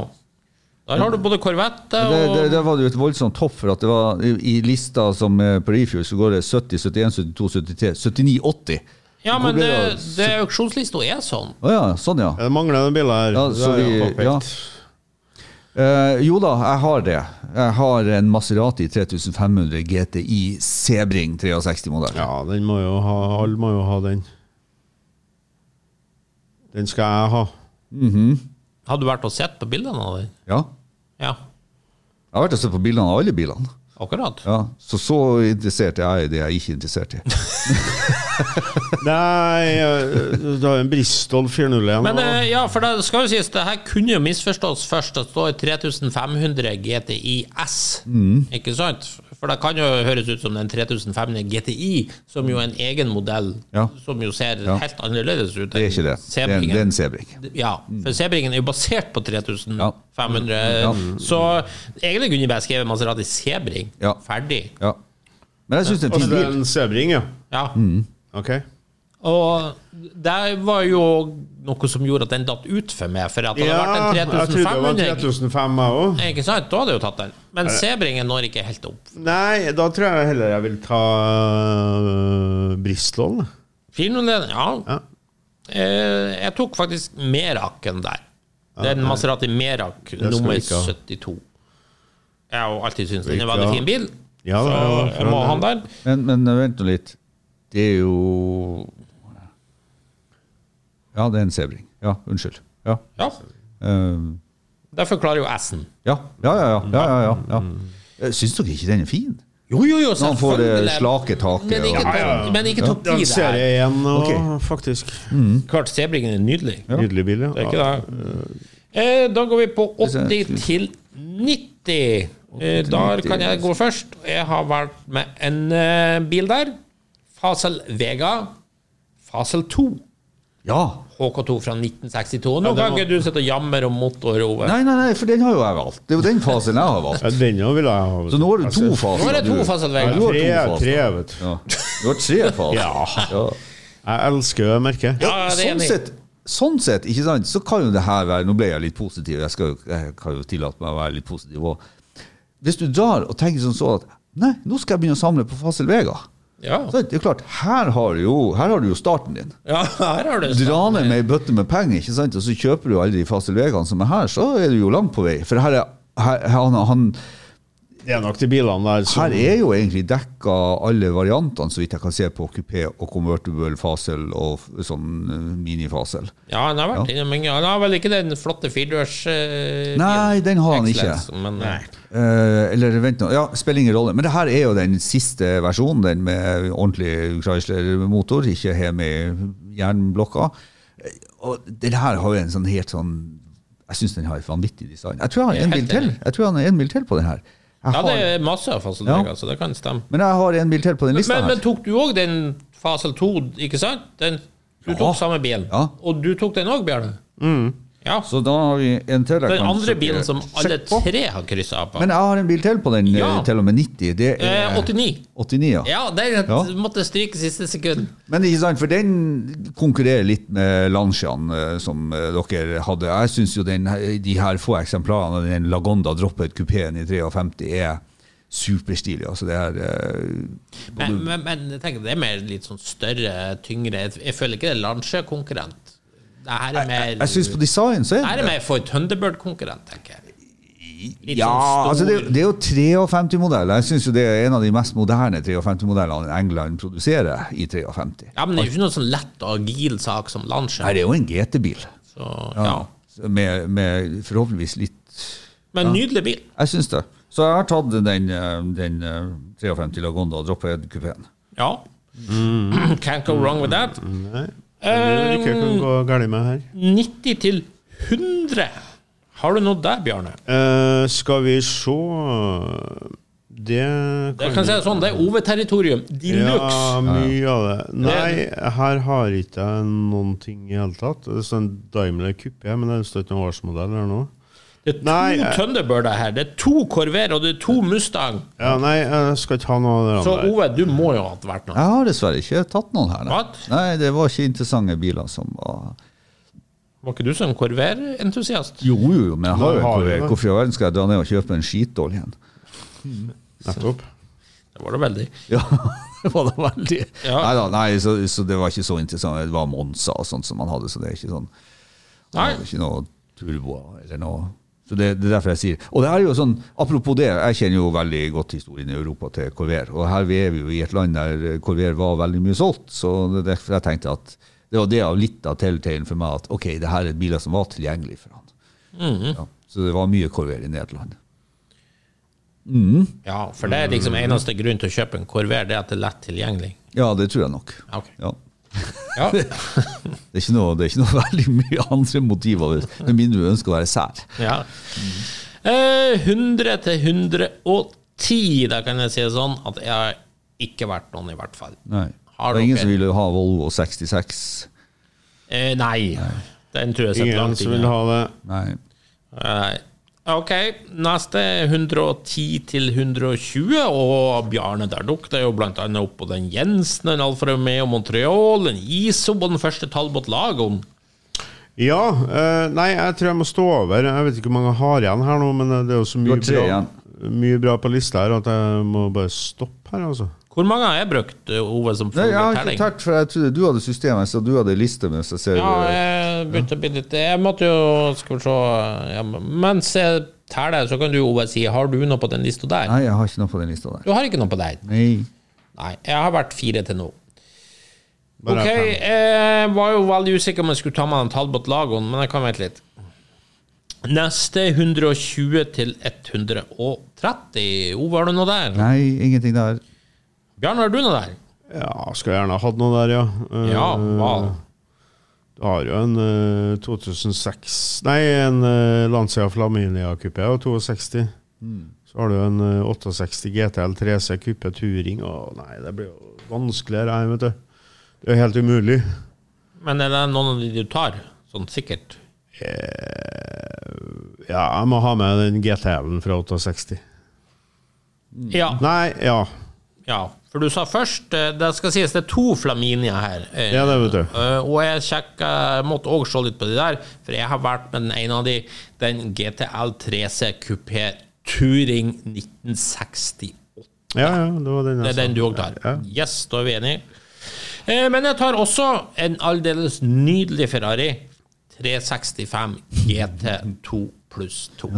Speaker 3: Der har du både korvette
Speaker 5: Det, det,
Speaker 3: og
Speaker 5: det var jo et voldsomt hopp, for at det var i, i lista som eh, på Rifjord så går det 70, 71, 72, 73, 79, 80.
Speaker 3: Ja,
Speaker 5: Hvor
Speaker 3: men
Speaker 5: ble
Speaker 3: det,
Speaker 5: det av
Speaker 3: det er auksjonslista er sånn.
Speaker 5: Å ja, sånn ja.
Speaker 4: Det mangler en bil her.
Speaker 5: Ja, så
Speaker 4: Det er jo
Speaker 5: vi-
Speaker 4: påpekt.
Speaker 5: ja. Eh, jo da, jeg har det. Jeg har en Maserati 3500 GTI Sebring 63-modell.
Speaker 4: ja, den må jo ha Alle må jo ha den. Den skal jeg ha.
Speaker 3: Har du vært og sett på bildene av den?
Speaker 5: Ja.
Speaker 3: Ja,
Speaker 5: Jeg har vært og sett på bildene av alle bilene.
Speaker 3: akkurat.
Speaker 5: Ja, Så så interessert er jeg i det jeg ikke er interessert i.
Speaker 4: Nei, eh, du har en Bristol 401.
Speaker 3: Men
Speaker 4: og-
Speaker 3: eh, ja, for det skal jo sies, det her kunne jo misforstås først. Det står 3500 GTI S,
Speaker 5: Mm.
Speaker 3: ikke sant? For det kan jo høres ut som den 3500 GTI, som jo er en egen modell,
Speaker 5: Ja.
Speaker 3: som jo ser
Speaker 5: Ja.
Speaker 3: helt annerledes ut.
Speaker 5: Det er ikke det. Det er en, det er en Sebring.
Speaker 3: Ja, for Sebringen er jo basert på 3500.
Speaker 5: Ja.
Speaker 3: Så egentlig kunne jeg bare skrevet Maserati Sebring.
Speaker 5: Ja.
Speaker 3: Ferdig.
Speaker 5: Ja. Men jeg syns det er en
Speaker 4: Altså,
Speaker 5: fin
Speaker 4: det er
Speaker 5: bil.
Speaker 4: en Sebring, ja.
Speaker 3: Ja.
Speaker 5: Mm.
Speaker 4: Ok.
Speaker 3: Og det var jo noe som gjorde at den datt ut for meg, for at det
Speaker 4: Ja,
Speaker 3: hadde
Speaker 4: jeg
Speaker 3: vært
Speaker 4: trodde det var
Speaker 3: en
Speaker 4: en
Speaker 3: 3500.
Speaker 4: 3500, jeg òg.
Speaker 3: Ikke sant? Da hadde jeg jo tatt den. Men Sebringen når ikke helt opp.
Speaker 4: Nei, da tror jeg heller jeg vil ta øh, Bristol. da.
Speaker 3: 401, ja.
Speaker 4: Ja.
Speaker 3: Eh, Jeg tok faktisk Meraken der. Den Maserati Merak
Speaker 4: skal
Speaker 3: nummer
Speaker 4: vi ikke ha.
Speaker 3: 72. Jeg har jo alltid syntes den er en
Speaker 4: Ikke
Speaker 3: veldig
Speaker 4: ha.
Speaker 3: fin bil,
Speaker 4: Ja,
Speaker 3: så
Speaker 4: det er jo-
Speaker 3: jeg må ha den der.
Speaker 5: Men, men eh, vent nå litt. Det er jo Ja, det er en Sebring. Ja, unnskyld. Ja.
Speaker 3: Ja.
Speaker 5: Um,
Speaker 3: Derfor klarer jo S-en.
Speaker 5: ja, ja, ja. ja, ja, ja, ja. ja. Syns dere ikke den er fin?
Speaker 3: Jo, jo, jo,
Speaker 5: Når han får det
Speaker 3: selvfølgelig.
Speaker 5: slake taket.
Speaker 3: Men ikke,
Speaker 5: og-
Speaker 3: ta-
Speaker 4: ja, ja.
Speaker 3: Men ikke topp ti,
Speaker 4: Den
Speaker 3: det
Speaker 4: ser
Speaker 3: her.
Speaker 4: jeg igjen, og,
Speaker 5: Ok.
Speaker 4: faktisk.
Speaker 3: Klart Sebringen er nydelig.
Speaker 4: Nydelig bil, ja.
Speaker 3: Det er ikke det. Eh, da går vi på 80 til 90. Eh, der kan jeg gå først. Jeg har valgt med en eh, bil der. Fasel Vega. Fasel 2.
Speaker 5: Ja.
Speaker 3: HK2 fra 1962. Nå kan ikke du sitte og jammer om motor, Ove.
Speaker 5: Nei, nei, nei, for den har jo jeg valgt. Det er jo den fasen jeg har valgt.
Speaker 4: Ja, denne vil jeg ha.
Speaker 5: Så nå har du to faser.
Speaker 3: Altså, Nå er det to
Speaker 5: du.
Speaker 3: Fasel
Speaker 4: Ja,
Speaker 3: Vega.
Speaker 5: du har
Speaker 4: tre,
Speaker 5: to faser.
Speaker 4: tre, vet du.
Speaker 5: Ja. Du har tre faser. Ja.
Speaker 4: Jeg elsker det merket.
Speaker 3: Ja, det er
Speaker 5: Sånn
Speaker 3: enig.
Speaker 5: sett, sånn sett, ikke sant, så kan jo det her være Nå ble jeg litt positiv, jeg, skal, jo- jeg kan jo tillate meg å være litt positiv òg. Hvis du drar og tenker sånn så at Nei, nå skal jeg begynne å samle på Fasel Vega.
Speaker 3: Ja.
Speaker 5: Så det er klart, her har du jo, her har du jo starten din.
Speaker 3: ja, her har du
Speaker 5: Dra ned med ei bøtte med penger, ikke sant? og så kjøper du alle de Fasel Vegaene som er her, så er du jo langt på vei. For her er, her, han, han,
Speaker 4: Det er nok de bilene der som
Speaker 5: her er jo egentlig dekka alle variantene, så vidt jeg kan se, på kupé og convertible Fasel og f- sånn eh, minifasel.
Speaker 3: Ja, han har vært innom mange Han har vel ikke den flotte firedørs... eh,
Speaker 5: Nei, den har han ikke.
Speaker 3: Excellence, Men, eh,
Speaker 5: Eh, eller vent nå, ja, spiller ingen rolle. Men det her er jo den siste versjonen, den med ordentlig Chrysler-motor, ikke her med jernblokka. Eh, Og den her har jo en sånn helt sånn Jeg syns den har et vanvittig design. Jeg tror jeg har en
Speaker 3: Jeg er
Speaker 5: bil
Speaker 3: helt
Speaker 5: til
Speaker 3: enig.
Speaker 5: Jeg tror han har en bil til på den her. Jeg
Speaker 3: ja, det
Speaker 5: har,
Speaker 3: er masse av Fasel
Speaker 5: Ja.
Speaker 3: Vega, så det kan stemme.
Speaker 5: men jeg har en bil til på den lista
Speaker 3: Men, men
Speaker 5: her.
Speaker 3: tok du òg den Fasel 2, ikke sant? Den, du
Speaker 5: Ja.
Speaker 3: tok samme bilen.
Speaker 5: Ja.
Speaker 3: Og du tok den òg, Bjarne? Ja.
Speaker 5: Så da har vi en til. jeg
Speaker 3: Den
Speaker 5: kan
Speaker 3: andre
Speaker 5: sjekke-
Speaker 3: bilen som alle
Speaker 5: sjekke på.
Speaker 3: tre har kryssa av på.
Speaker 5: Men jeg har en bil til på den, eh,
Speaker 3: Ja.
Speaker 5: til og med 90. Det er
Speaker 3: eh, 89.
Speaker 5: 89, ja.
Speaker 3: Ja, den
Speaker 5: Ja.
Speaker 3: måtte stryke siste sekund.
Speaker 5: Men ikke sant, for den konkurrerer litt med Lancian eh, som eh, dere hadde. Jeg syns jo den, de her få eksemplarene av den Lagonda droppet kupeen i 53 er superstilig. Altså det er eh,
Speaker 3: Men, men, men jeg tenker det er mer litt sånn større, tyngre Jeg føler ikke det er Lansje-konkurrent. Det her er mer
Speaker 5: Jeg syns på design så
Speaker 3: Det
Speaker 5: er
Speaker 3: her er mer for Thunderbird-konkurrent, tenker jeg. Litt
Speaker 5: ja,
Speaker 3: sånn stor-
Speaker 5: altså det, det er jo 53-modell. Jeg syns det er en av de mest moderne 53-modellene England produserer i 53.
Speaker 3: Ja, men det er jo ikke noe sånn lett og agil sak som
Speaker 5: Nei,
Speaker 3: Lansje.
Speaker 5: det er jo en GT-bil.
Speaker 3: Så,
Speaker 5: Ja.
Speaker 3: ja.
Speaker 5: Med, med forhåpentligvis litt
Speaker 3: Men nydelig bil.
Speaker 5: Jeg syns det. Så jeg har tatt den, eh, den eh, 53 Lagonda og droppet kupeen.
Speaker 3: Ja.
Speaker 4: Mm.
Speaker 3: Can't go wrong with that. Eh,
Speaker 4: du ikke kan gå galt med her.
Speaker 3: 90 til 100. Har du noe der, Bjarne?
Speaker 4: Eh, skal vi se Det
Speaker 3: Det kan jeg si det sånn, det er Ove-territorium. De
Speaker 4: Ja,
Speaker 3: luxe.
Speaker 4: mye av det. Nei, her har ikke jeg noen ting i hele tatt. Det står en Daimler Coupé, men det står ikke noen årsmodell her nå.
Speaker 3: Det er to
Speaker 4: Nei, jeg-
Speaker 3: Thunderbirder her. Det er to Corvair og det er to Mustang.
Speaker 4: Ja, nei, jeg skal ikke ha noe av det
Speaker 3: Så
Speaker 4: andre.
Speaker 3: Ove, du må jo ha vært noe.
Speaker 5: Jeg har dessverre ikke tatt noen her. Nei,
Speaker 3: What?
Speaker 5: nei det var ikke interessante biler som var
Speaker 3: Var ikke du sånn Corvair-entusiast?
Speaker 5: Jo, jo, jo, men jeg har
Speaker 4: Nei,
Speaker 5: jo en
Speaker 4: har du
Speaker 5: Corvette.
Speaker 4: det?
Speaker 5: Hvorfor i all verden skal jeg dra ned og kjøpe en skitdårlig en?
Speaker 4: Nettopp.
Speaker 3: Det var det veldig.
Speaker 5: Ja, det var da veldig
Speaker 3: Ja.
Speaker 5: Nei da, nei, så, så det var ikke så interessant. Det var Monza og sånt som man hadde, så det er ikke sånn
Speaker 3: Nei.
Speaker 5: Det var Ikke noe turbo eller noe så det, det er derfor jeg sier Og det her er jo sånn, apropos det, jeg kjenner jo veldig godt historien i Europa til Corvair. Og her er vi jo i et land der Corvair var veldig mye solgt, så det er derfor jeg tenkte at Det var det av litt av telltalen for meg at ok, det her er biler som var tilgjengelig for han.
Speaker 3: Mhm.
Speaker 5: ja, så det var mye Corvair i Nederland.
Speaker 3: Ja, for det er liksom eneste grunn til å kjøpe en Corvair, det er at det er lett tilgjengelig.
Speaker 5: Ja, det tror jeg nok.
Speaker 3: Ok.
Speaker 5: Ja.
Speaker 3: Ja,
Speaker 5: Det, er ikke noe, det er ikke noe veldig mye andre motiver, med mindre du ønsker å være sær.
Speaker 3: ja. Eh, 100 til 110, da kan jeg si det sånn, at jeg har ikke vært noen, i hvert fall.
Speaker 5: Nei.
Speaker 3: Har
Speaker 5: det er ingen
Speaker 3: dere-
Speaker 5: som ville ha Volvo 66.
Speaker 3: Eh, nei. Den tror jeg setter
Speaker 4: Ingen
Speaker 3: langt
Speaker 4: som
Speaker 3: inne.
Speaker 4: vil ha det.
Speaker 5: Nei.
Speaker 3: Nei. Ok, neste er 110 til 120, og Bjarne der dukket jo blant annet opp på den Jensen, en Alfa Romeo Montreal, en ISO og den første Talbot Lagoen.
Speaker 4: Ja. eh, nei, jeg tror jeg må stå over. Jeg vet ikke hvor mange jeg har igjen her nå, men eh, det er jo så mye
Speaker 5: har tre
Speaker 4: bra, mye bra på lista her at jeg må bare stoppe her, altså.
Speaker 3: Hvor mange har jeg brukt, eh, Ove, som
Speaker 5: Nei, jeg har
Speaker 3: fugltelling?
Speaker 5: ikke tært, for jeg trodde du hadde systemet, så du hadde liste mens jeg ser
Speaker 3: Ja, jeg begynte å bli litt Jeg måtte jo Skal vi se ja, Mens jeg teller, så kan du, Ove, si Har du noe på den lista der?
Speaker 5: Nei, jeg har ikke noe på den lista der.
Speaker 3: Du har ikke noe på deg?
Speaker 5: Nei.
Speaker 3: Nei. Jeg har vært fire til nå.
Speaker 4: Bare
Speaker 3: ok,
Speaker 4: fem.
Speaker 3: jeg var jo veldig usikker om jeg skulle ta med den Talbot Lagoen, men jeg kan vente litt. Neste 120 til 130. Ove, har du noe der?
Speaker 5: Nei, ingenting der.
Speaker 3: Bjarne, har du noe der?
Speaker 4: Ja, skulle gjerne ha hatt noe der, ja. Eh,
Speaker 3: Ja, hva?
Speaker 4: Du har jo en eh, 2006 Nei, en uh, Lancia Flaminia Coupé og 62.
Speaker 3: Mm.
Speaker 4: Så har du en eh, 68 GTL 3C Coupé Touring. Å nei, det blir jo vanskeligere her, vet du. Det er jo helt umulig.
Speaker 3: Men er det noen av de du tar? Sånn sikkert.
Speaker 4: Ja, jeg må ha med den GTL-en fra 68.
Speaker 3: Ja.
Speaker 4: Nei, ja.
Speaker 3: ja. For du sa først eh, Det skal sies det er to Flaminia her. Eh,
Speaker 4: Ja, det vet du.
Speaker 3: Eh, og jeg sjekka, jeg måtte òg se litt på de der, for jeg har vært med den ene av de, den GTL 3C Coupé Touring 1968.
Speaker 4: Ja, ja, det var den
Speaker 3: Det
Speaker 4: jeg
Speaker 3: er
Speaker 4: sa.
Speaker 3: den du òg tar. Yes, da er vi enige. Eh, men jeg tar også en aldeles nydelig Ferrari 365 GT2 pluss 2.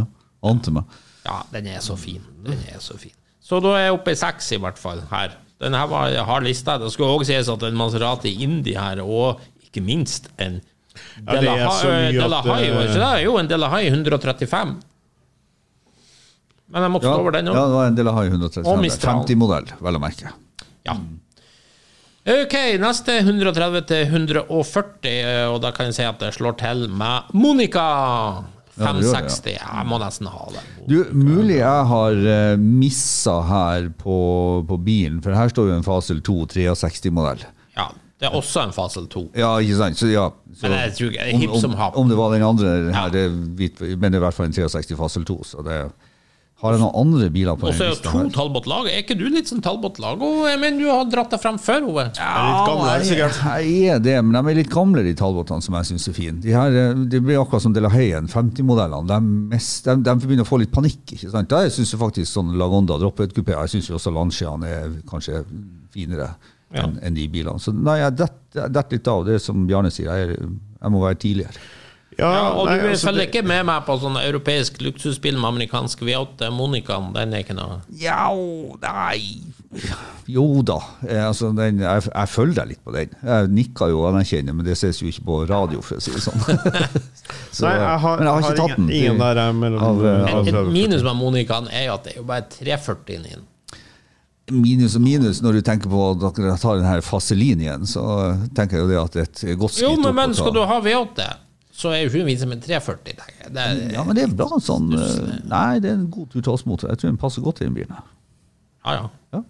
Speaker 5: Ante meg.
Speaker 3: Ja, den er så fin. Den er så fin. Så da er jeg oppe i seks, i hvert fall, her. Den her var en hard liste. Det skulle òg sies at en Maserati Indi her, og ikke minst en
Speaker 4: Ja, det er
Speaker 3: Delaha-
Speaker 4: så mye at
Speaker 3: Delahai,
Speaker 4: det-
Speaker 3: var det ikke det? Jo, en Delahai 135. Men jeg måtte
Speaker 5: Ja,
Speaker 3: stå over den
Speaker 5: ja,
Speaker 3: òg.
Speaker 5: det var en del av Hai
Speaker 3: Og
Speaker 5: 135.
Speaker 3: Mistral.
Speaker 5: 50-modell, vel å merke.
Speaker 3: Ja. Ok, neste 130 til 140, og da kan jeg si at det slår til med Monica!
Speaker 5: Ja, det gjør det, ja.
Speaker 3: 560. Jeg må nesten ha det.
Speaker 5: Du, mulig jeg har eh, missa her på, på bilen, for her står jo en Fasel 2 63-modell.
Speaker 3: Ja, det er også en Fasel 2.
Speaker 5: Ja, ikke sant? Så ja. Så,
Speaker 3: Men jeg tror ikke- det er hipp
Speaker 5: om,
Speaker 3: som happ.
Speaker 5: om det var den andre her, det, vet vi- men det er i hvert fall en 63 Fasel 2, så det Har jeg noen andre biler på
Speaker 3: Og så
Speaker 5: den
Speaker 3: er det
Speaker 5: lista?
Speaker 3: to
Speaker 5: her?
Speaker 3: Talbot Lag. Er ikke du litt sånn Talbot Lag? Og jeg mener du har dratt deg fram før, Ove.
Speaker 4: Jeg er litt gammel,
Speaker 5: jeg,
Speaker 4: sikkert.
Speaker 5: jeg er det, men de er litt gamle, de Talbotene, som jeg syns er fine. De her, eh, det blir akkurat som De La Hayen, 50-modellene. De, mest- de, de begynner å få litt panikk. ikke sant? Da syns jeg faktisk sånn Lagonda droppet kupé. Jeg syns også Lanciaen er kanskje finere enn enn de bilene. Så nei, jeg detter det litt av. Det er som Bjarne sier, jeg, er- jeg må være tidligere.
Speaker 4: Ja,
Speaker 3: Ja, og
Speaker 4: nei,
Speaker 3: du
Speaker 4: altså,
Speaker 3: følger
Speaker 4: det-
Speaker 3: ikke med meg på sånn europeisk luksusbil med amerikansk V8. Monicaen, den er ikke noe
Speaker 5: Ja, nei Jo da. Eh, altså, den, jeg, jeg følger deg litt på den. Jeg nikker jo og anerkjenner, men det ses jo ikke på radio, for å si det sånn. Så,
Speaker 4: Nei, jeg har,
Speaker 5: men jeg har ikke tatt den.
Speaker 4: ingen, ingen der er mellom
Speaker 5: Av, eh,
Speaker 3: Et
Speaker 4: av-
Speaker 3: minus med Monicaen er jo at det er jo bare 340 inni den.
Speaker 5: Minus og minus når du tenker på at dere tar den her faselinjen, så tenker jeg jo det at det er et godt skritt
Speaker 3: Jo, men, men
Speaker 5: å ta.
Speaker 3: skal du ha V8, så er jo ikke vits med 340, tenker jeg. Det er,
Speaker 5: Ja, men det er bra sånn eh, Nei, det er en god turtallsmotor. Jeg tror den passer godt i den bilen.
Speaker 3: ja, ja.
Speaker 5: Ja.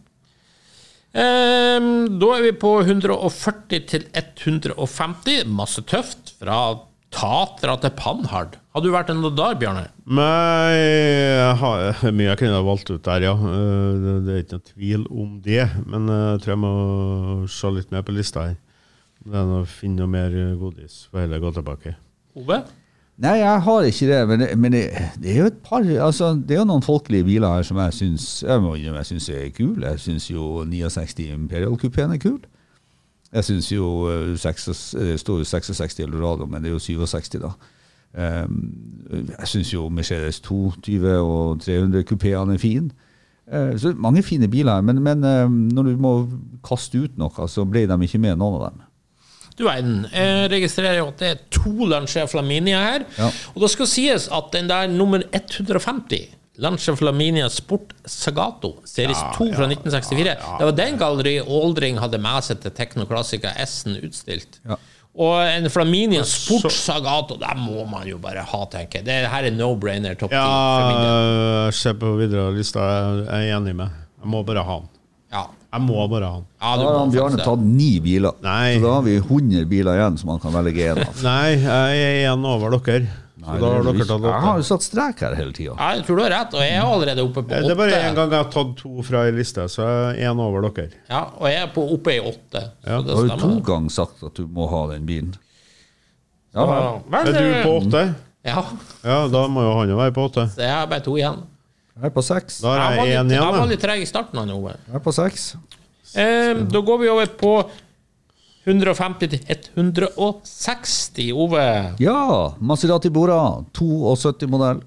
Speaker 3: Ehm, da er vi på 140 til 150. Masse tøft. Fra Tatra til Panhard. Har du vært en der, Bjarne?
Speaker 4: Men jeg har mye jeg kunne ha valgt ut der, ja. Eh, Det, det er ikke noe tvil om det. Men eh, jeg tror jeg må se litt mer på lista her. Det er noe, finne noe mer eh, godis. Får heller gå tilbake.
Speaker 3: Ove?
Speaker 5: Nei, jeg har ikke det, men, det, men det, det er jo et par altså, Det er jo noen folkelige biler her som jeg syns jeg må innrømme, jeg synes er kule. Jeg syns jo 69 Imperial-kupeen er kul. Jeg syns jo eh, 6 eh, Det står jo 66 Eldorado, men det er jo 67, da. Ehm, jeg syns jo Mercedes 220 og 300-kupeene er fine. Eh, så mange fine ehm, biler her, men, men eh, når du må kaste ut noe, så ble de ikke med, noen av dem.
Speaker 3: Du verden. Jeg registrerer jo at det er to Lancia Flaminia her.
Speaker 5: Ja.
Speaker 3: Og det skal sies at den der nummer 150 Lancia Flaminia Sport Sagato, series 2 fra 1964. Det var den Galleri Aldring hadde med seg til Technoclassica S-en utstilt.
Speaker 5: Ja.
Speaker 3: Og en Flaminia Sport Sagato, det må man jo bare ha, tenker jeg. Det her er no-brainer topp 10 for min del.
Speaker 4: Ja, se Eh, på videre lista. Jeg er enig med. Jeg må bare ha han.
Speaker 3: Ja.
Speaker 4: Jeg må bare ha han.
Speaker 3: Ja, du
Speaker 5: Da har
Speaker 3: må
Speaker 5: han Bjarne
Speaker 3: faktisk det.
Speaker 5: tatt ni biler.
Speaker 4: Nei.
Speaker 5: Så da har vi 100 biler igjen som han kan velge én av.
Speaker 4: Nei, jeg er én over dere. Så da har dere tatt
Speaker 5: jeg har
Speaker 4: åtte.
Speaker 5: jo satt strek her hele tida.
Speaker 3: Ja, jeg tror du har rett, og jeg er allerede oppe på
Speaker 4: Eh, Det er bare én
Speaker 3: åtte.
Speaker 4: gang jeg har tatt to fra ei liste, så jeg er én over dere.
Speaker 3: Ja, og jeg er på, oppe i åtte. Så
Speaker 4: Ja.
Speaker 3: det
Speaker 5: Du har jo to
Speaker 3: stemmer.
Speaker 5: ganger sagt at du må ha den bilen.
Speaker 3: Ja,
Speaker 5: Ja, vel.
Speaker 3: men,
Speaker 4: Er
Speaker 3: eh,
Speaker 4: du på åtte?
Speaker 3: Ja,
Speaker 4: Ja, da må jo han jo være på åtte.
Speaker 3: så jeg har bare to igjen.
Speaker 5: jeg er på seks.
Speaker 4: Da
Speaker 3: Jeg
Speaker 4: har
Speaker 3: var
Speaker 4: jeg én
Speaker 3: litt, jeg var
Speaker 4: igjen. da.
Speaker 3: litt treg i starten. av noe.
Speaker 5: Jeg er på seks.
Speaker 3: Eh, da går vi over på 150 til 160, Ove.
Speaker 5: Ja, Maserati Bora, 72-modell.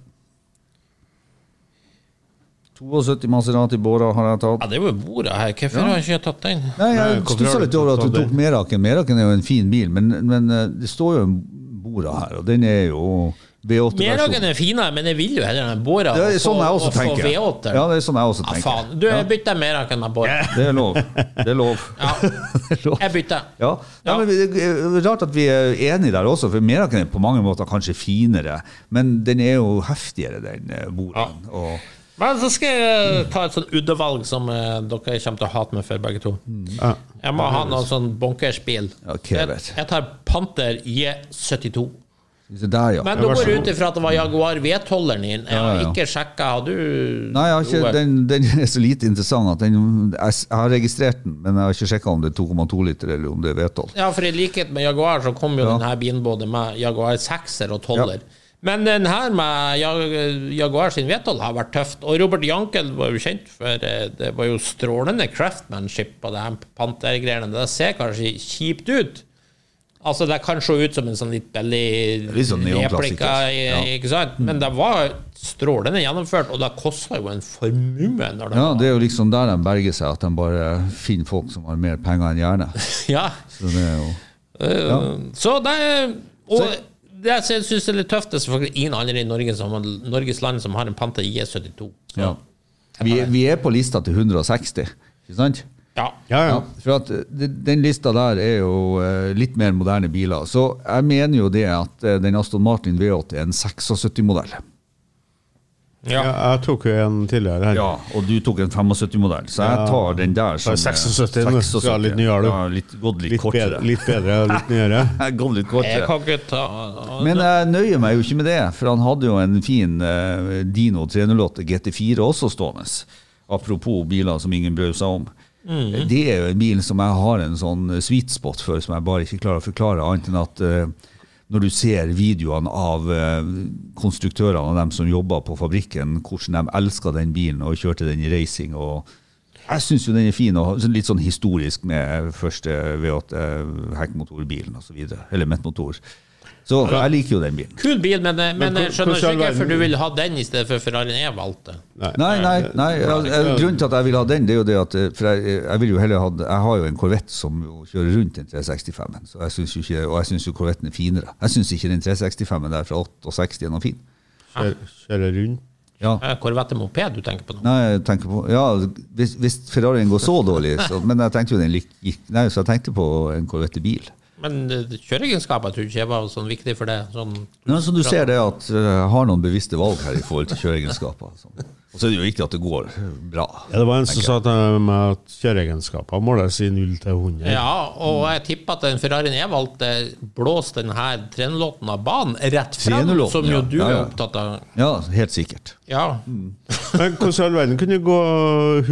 Speaker 5: 72 Maserati Bora har jeg tatt.
Speaker 3: Ja, det er jo bordet her. Hvorfor har jeg ikke tatt den?
Speaker 5: Nei, Jeg
Speaker 4: Nei, hvorfor
Speaker 5: stussa
Speaker 4: har du
Speaker 5: litt over at
Speaker 4: tatt
Speaker 5: du tok
Speaker 4: det?
Speaker 5: Meraken. Meraken er jo en fin bil, men, men eh, det står jo en Bora her, og den er jo
Speaker 3: Merdagen
Speaker 5: V8-versjonen.
Speaker 3: er finere, men jeg vil jo heller den båra.
Speaker 5: Det er sånn jeg også tenker.
Speaker 3: Ja,
Speaker 5: Ja, det er sånn jeg også
Speaker 3: faen.
Speaker 5: tenker.
Speaker 3: Du, jeg bytter Merdagen med båra.
Speaker 5: Det er lov. Det er lov.
Speaker 3: Ja,
Speaker 5: Det er lov.
Speaker 3: jeg bytter.
Speaker 5: Ja.
Speaker 3: Ja.
Speaker 5: Nei, men det er Rart at vi er enige der også, for Meraken er på mange måter kanskje finere, men den er jo heftigere, den eh, Boraen. Og
Speaker 3: Men så skal jeg ta et sånn uddevalg som eh, dere kommer til å hate meg for, begge to.
Speaker 4: Ja.
Speaker 3: Jeg må ha noen sånn bunkersbil.
Speaker 5: Ok,
Speaker 3: Jeg,
Speaker 5: vet.
Speaker 3: jeg tar Panter J72.
Speaker 5: så der, ja.
Speaker 3: Men da
Speaker 4: vær så
Speaker 3: går jeg
Speaker 4: god.
Speaker 3: ut ifra at det var Jaguar V12-eren din. Jeg
Speaker 5: Ja,
Speaker 3: har
Speaker 5: ja.
Speaker 3: ikke sjekka. Har du
Speaker 5: Nei, jeg har ikke,
Speaker 3: Ove?
Speaker 5: den, den er så lite interessant at den, jeg, s- jeg har registrert den, men jeg har ikke sjekka om det er 2,2 liter eller om det er V12.
Speaker 3: Ja, for i likhet med Jaguar så kom jo denne bilen både med Jaguar 6-er og 12-er. Men den her med Jag- Jaguar sin V12 har vært tøft. Og Robert Jankel var jo kjent for eh, Det var jo strålende craftmanship på det her pantergreiene. Det ser kanskje kjipt ut. Altså, det kan se ut som en sånn litt billig
Speaker 5: Litt sånn neonklassiker.
Speaker 3: replika, i-
Speaker 5: Ja.
Speaker 3: ikke sant? Men det var strålende gjennomført, og det kosta jo en formue når det
Speaker 5: Ja,
Speaker 3: var
Speaker 5: Det er jo liksom der de berger seg, at de bare finner folk som har mer penger enn hjerne.
Speaker 3: Ja.
Speaker 5: Så det er jo
Speaker 3: Så det er- Og det som jeg syns er litt tøft, det er selvfølgelig ingen andre i Norge som, Norges land som har en E Panta IS-72.
Speaker 5: ja. vi, vi er på lista til 160, ikke sant?
Speaker 3: Ja.
Speaker 4: Ja, ja.
Speaker 5: Ja, for at eh, de- den lista der er jo eh, litt mer moderne biler. Så jeg mener jo det at eh, den Aston Martin V8 er en 76-modell.
Speaker 4: Ja,
Speaker 3: ja.
Speaker 4: Jeg tok jo en tidligere her.
Speaker 5: Ja, og du tok en 75-modell, så jeg tar den der som
Speaker 4: er 76, nå. Skal ha litt nyere, du.
Speaker 5: Ja, litt, gått litt,
Speaker 4: Litt bedre,
Speaker 5: kortere.
Speaker 4: litt bedre og litt nyere.
Speaker 5: Jeg gått litt
Speaker 3: Jeg
Speaker 5: kortere.
Speaker 3: kan ikke ta
Speaker 5: Men jeg nøyer meg jo ikke med det, for han hadde jo en fin eh, Dino 308 GT4 også stående. Apropos biler som ingen brød seg om. Det er jo en bil som jeg har en sånn sweet spot for, som jeg bare ikke klarer å forklare, annet enn at eh, når du ser videoene av eh, konstruktørene og dem som jobber på fabrikken, hvordan de elsker den bilen og kjørte den i racing og jeg syns jo den er fin, og sånn litt sånn historisk med første eh, V8-hekkmotorbilen osv. Eller midtmotor. Så jeg liker jo den bilen.
Speaker 3: Kul bil, men, eh, men
Speaker 4: hvor-
Speaker 3: jeg skjønner
Speaker 4: hvordan
Speaker 3: ikke
Speaker 4: i all
Speaker 3: hvorfor
Speaker 4: verden-
Speaker 3: du vil ha den i stedet for Ferrarien jeg valgte.
Speaker 5: Nei, nei, nei. jeg- jeg- Grunnen til at jeg vil ha den, det er jo det at eh, For jeg, jeg vil jo heller ha Jeg har jo en Corvette som jo kjører rundt den 365-en, så jeg synes jo ikke, og jeg syns jo Corvetten er finere. Jeg syns ikke den 365-en der fra 68 er noe fin.
Speaker 4: Kjører- Kjører rundt.
Speaker 5: Ja.
Speaker 3: Eh, Corvette moped du tenker på nå?
Speaker 5: Nei, jeg tenker på Ja, hvis, hvis Ferrarien går så dårlig, så Men jeg tenkte jo den lik- gikk Nei, så jeg tenkte på en Corvette-bil.
Speaker 3: Men eh, kjøreegenskaper tror ikke jeg var sånn viktig for det. Sånn
Speaker 5: Ja, så du ser det at eh, jeg har noen bevisste valg her i forhold til kjøreegenskaper. altså. Og så er det jo viktig at det går bra.
Speaker 4: Ja, det var en som sa til meg at kjøreegenskaper måles i 0 til 100.
Speaker 3: Ja, og jeg tipper at den Ferrarien jeg valgte, blåste den her trenlåten av banen rett frem,
Speaker 5: 308,
Speaker 3: som jo
Speaker 5: ja.
Speaker 3: du
Speaker 5: Ja, ja.
Speaker 3: er opptatt av.
Speaker 5: Ja, helt sikkert.
Speaker 3: Ja.
Speaker 4: Men hvordan i all verden kunne du gå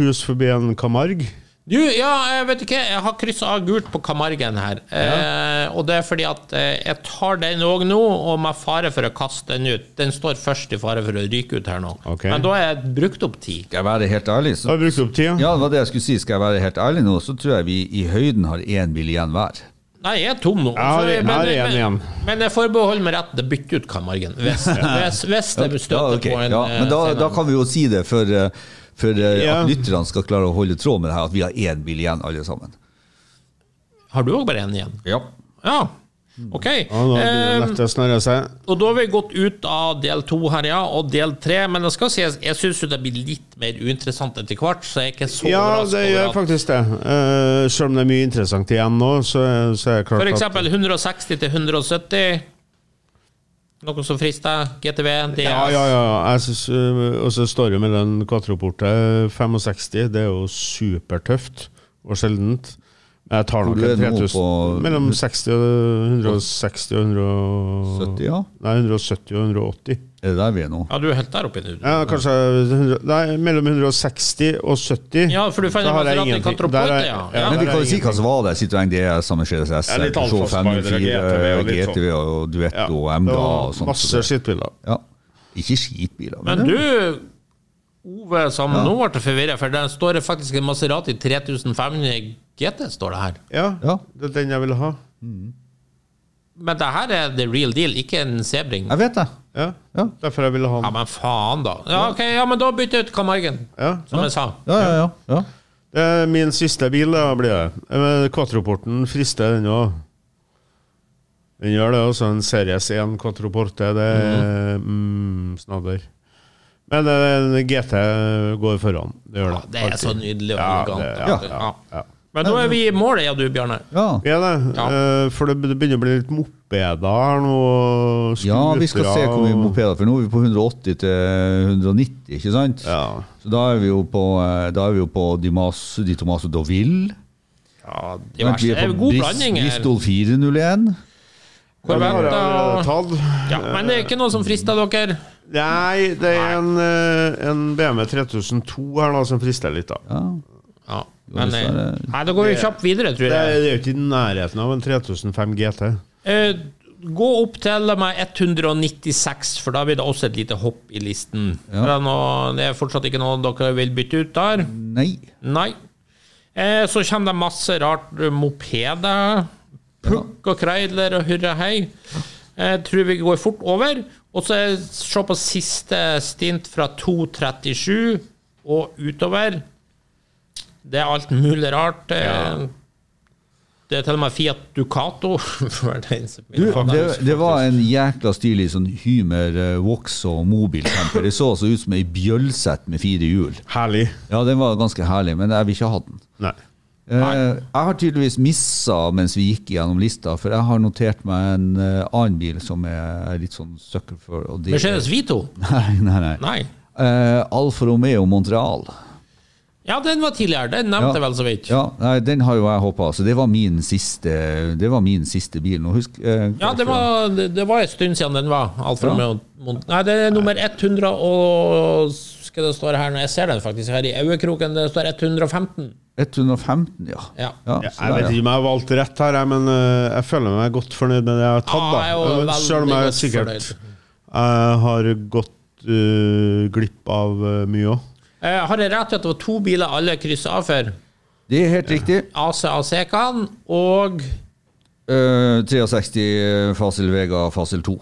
Speaker 4: hus forbi en Camargue?
Speaker 3: Du, ja, jeg vet ikke, jeg har kryssa av gult på Kamargen her. Eh, og det er fordi at eh, jeg tar den òg nå, og med fare for å kaste den ut. Den står først i fare for å ryke ut her nå.
Speaker 4: Ok.
Speaker 3: Men da har jeg brukt opp tid.
Speaker 5: Skal jeg være helt ærlig,
Speaker 4: Da
Speaker 5: så,
Speaker 4: har vi brukt opp tida.
Speaker 5: ja, det var det jeg skulle si. Skal jeg være helt ærlig nå, så tror jeg vi i høyden har én bil igjen hver.
Speaker 3: Nei, jeg er tom nå.
Speaker 4: Jeg har-
Speaker 3: Så
Speaker 4: jeg har en
Speaker 3: men,
Speaker 4: igjen.
Speaker 3: men jeg forbeholder meg retten til å bytte ut Kamargen, hvis, hvis, hvis det
Speaker 5: Ja,
Speaker 3: støter
Speaker 5: ok.
Speaker 3: på en
Speaker 5: ja,
Speaker 3: eh,
Speaker 5: men da,
Speaker 3: scene.
Speaker 5: da kan vi jo si det, for, eh, for eh,
Speaker 4: Ja.
Speaker 5: at lytterne skal klare å holde tråd med det her, at vi har én bil igjen, alle sammen.
Speaker 3: Har du òg bare én igjen?
Speaker 5: Ja.
Speaker 3: Ja, OK.
Speaker 4: Ja, nå
Speaker 5: Ehm,
Speaker 3: Eh,
Speaker 4: lett å snarre seg.
Speaker 3: og da har vi gått ut av del to her, ja, og del tre. Men det skal sies, jeg syns det blir litt mer uinteressant etter hvert, så jeg er ikke så
Speaker 4: Ja,
Speaker 3: overrasket
Speaker 4: det
Speaker 3: over
Speaker 4: gjør
Speaker 3: at-
Speaker 4: faktisk det. Eh, selv om det er mye interessant igjen nå, så, så er det klart
Speaker 3: For eksempel 160 til 170. Noe som frister? GTV? DS?
Speaker 4: Ja, ja, ja. Jeg synes, øh, og så står det med den quattroporte 65. Det er jo supertøft og sjeldent. Jeg tar nok
Speaker 5: Hvor er
Speaker 4: en
Speaker 5: det nå
Speaker 4: 3000
Speaker 5: på-
Speaker 4: Mellom 60 og 160 og 170
Speaker 5: 70, ja.
Speaker 4: Nei, 170 og 180.
Speaker 5: Er det der vi er nå?
Speaker 3: Ja, du er helt der oppe nå.
Speaker 4: Ja, kanskje 100, Nei, mellom 160 og 70.
Speaker 3: Ja, for du fant
Speaker 4: Da har jeg
Speaker 3: Maserati
Speaker 4: ingenting.
Speaker 3: Quattroporte,
Speaker 4: Der er-
Speaker 3: ja.
Speaker 4: ja,
Speaker 3: Men
Speaker 5: Men
Speaker 4: der
Speaker 5: vi kan
Speaker 4: er
Speaker 5: jo si hva som var det. Citroën DS, samme GSS,
Speaker 4: Ja, litt
Speaker 5: Peugeot
Speaker 4: Alfa Spider,
Speaker 5: 504,
Speaker 4: GTV og litt sånn.
Speaker 5: GTV og
Speaker 4: Ja,
Speaker 5: Duetto
Speaker 4: det
Speaker 5: og MGA
Speaker 4: var
Speaker 5: og sånt.
Speaker 4: Masse skittbiler.
Speaker 5: Ja. Ikke skipbiler.
Speaker 3: Men du, Ove, som nå ble jeg forvirret, for der står det faktisk en Maserati 3500 GT, står det her.
Speaker 4: Ja,
Speaker 5: Ja.
Speaker 4: det er den jeg ville ha.
Speaker 3: Men det her er the real deal, ikke en Sebring.
Speaker 5: Jeg vet det.
Speaker 4: Ja,
Speaker 5: Ja.
Speaker 4: Derfor jeg ville ha
Speaker 3: Ja,
Speaker 4: den.
Speaker 3: men faen, da. Ja, ok, ja, men da bytter jeg ut Camargen,
Speaker 4: Ja.
Speaker 3: som jeg sa.
Speaker 5: Ja, ja, ja. ja.
Speaker 4: Det er Eh, min siste bil, da blir det. Men Quattroporten frister den òg. Den gjør det, også En Series 1 Quattroporte, det er mm, snadder. Men eh, en GT går foran. Det gjør
Speaker 3: Ja,
Speaker 4: det.
Speaker 3: det er så nydelig og
Speaker 4: Ja,
Speaker 3: elegant.
Speaker 4: det- ja,
Speaker 3: Ja.
Speaker 4: ja.
Speaker 3: Men nå er vi i mål, ja, du, Bjarne.
Speaker 5: ja.
Speaker 4: Ja, det.
Speaker 3: Ja.
Speaker 4: eh, For det be- det begynner å bli litt mopeder her nå. og
Speaker 5: ja, vi skal
Speaker 4: skutere
Speaker 5: se hvor mye
Speaker 4: og-
Speaker 5: mopeder For nå er vi på 180 til 190, ikke sant?
Speaker 4: Ja.
Speaker 5: Så da er vi jo på, eh, da er vi jo på Dimas, Di Tomaso Doville.
Speaker 3: Ja,
Speaker 5: Vi er
Speaker 3: diverse. Det er
Speaker 5: på
Speaker 3: god
Speaker 5: Bris-
Speaker 3: blanding her.
Speaker 5: Bristol 401.
Speaker 4: Den har jeg allerede
Speaker 3: Corvette og
Speaker 4: tatt.
Speaker 3: ja, Men det er ikke noe som frister dere.
Speaker 4: Nei, det er en, eh, en BMW 3002 her da som frister litt, da.
Speaker 5: Ja.
Speaker 3: Ja, men, eh,
Speaker 5: hvis det er-
Speaker 3: nei, da går vi kjapt videre, tror
Speaker 4: Det er,
Speaker 3: jeg.
Speaker 4: det er jo ikke i nærheten av en 3005 GT.
Speaker 3: Eh, gå opp til la meg 196, for da blir det også et lite hopp i listen.
Speaker 5: Ja.
Speaker 3: Det, er noe, det er fortsatt ikke noe dere vil bytte ut der.
Speaker 5: Nei.
Speaker 3: Nei. Eh, så kommer det masse rart eh, mopeder. Pukk og kreidler og hurra hei. Jeg tror vi går fort over. Og så er- se på siste stint fra 2.37 og utover. Det er alt mulig rart. Eh, Det er til og med Fiat Ducato. for den som
Speaker 5: Du,
Speaker 3: vil ha
Speaker 5: det,
Speaker 3: den.
Speaker 5: det var en jækla stilig sånn Hymer eh, Vox og mobilcamper. Det så altså ut som ei bjølsett med fire hjul.
Speaker 4: Herlig.
Speaker 5: Ja, den var ganske herlig, men jeg vil ikke ha den.
Speaker 4: Nei.
Speaker 5: Eh, jeg har tydeligvis missa mens vi gikk gjennom lista, for jeg har notert meg en eh, annen bil som jeg er litt sånn sucker for. Og det
Speaker 3: Mercedes Vito?
Speaker 5: Nei, nei, nei.
Speaker 3: Nei.
Speaker 5: Eh, Alfa Romeo Montreal.
Speaker 3: Ja, den var tidligere. Den nevnte jeg vel så vidt.
Speaker 5: Ja, nei, den har jo jeg hoppa, så det var min siste, det var min siste bil. Nå husk, eh,
Speaker 3: Ja, det var, det, det var en stund siden den var. Alfa Romeo Mont- Nei, det er nummer 100 og Skal det stå her når jeg ser den, faktisk, her i øyekroken, det står 115.
Speaker 5: 115, ja.
Speaker 3: Ja.
Speaker 5: Ja,
Speaker 4: Jeg,
Speaker 5: så der,
Speaker 4: vet
Speaker 5: ja.
Speaker 4: ikke om jeg har valgt rett her, jeg, men eh, jeg føler meg godt fornøyd med det jeg har tatt.
Speaker 3: Ja, jeg er jo
Speaker 4: da.
Speaker 3: veldig
Speaker 4: Selv om jeg
Speaker 3: godt
Speaker 4: sikkert
Speaker 3: fornøyd.
Speaker 4: jeg har gått eh, glipp av eh, mye òg.
Speaker 3: Eh, har jeg rett i at det var to biler alle krysset av for?
Speaker 5: Det er helt riktig.
Speaker 3: AC Asekan og
Speaker 5: Eh, 63 Fasel eh, Vega Fasel 2.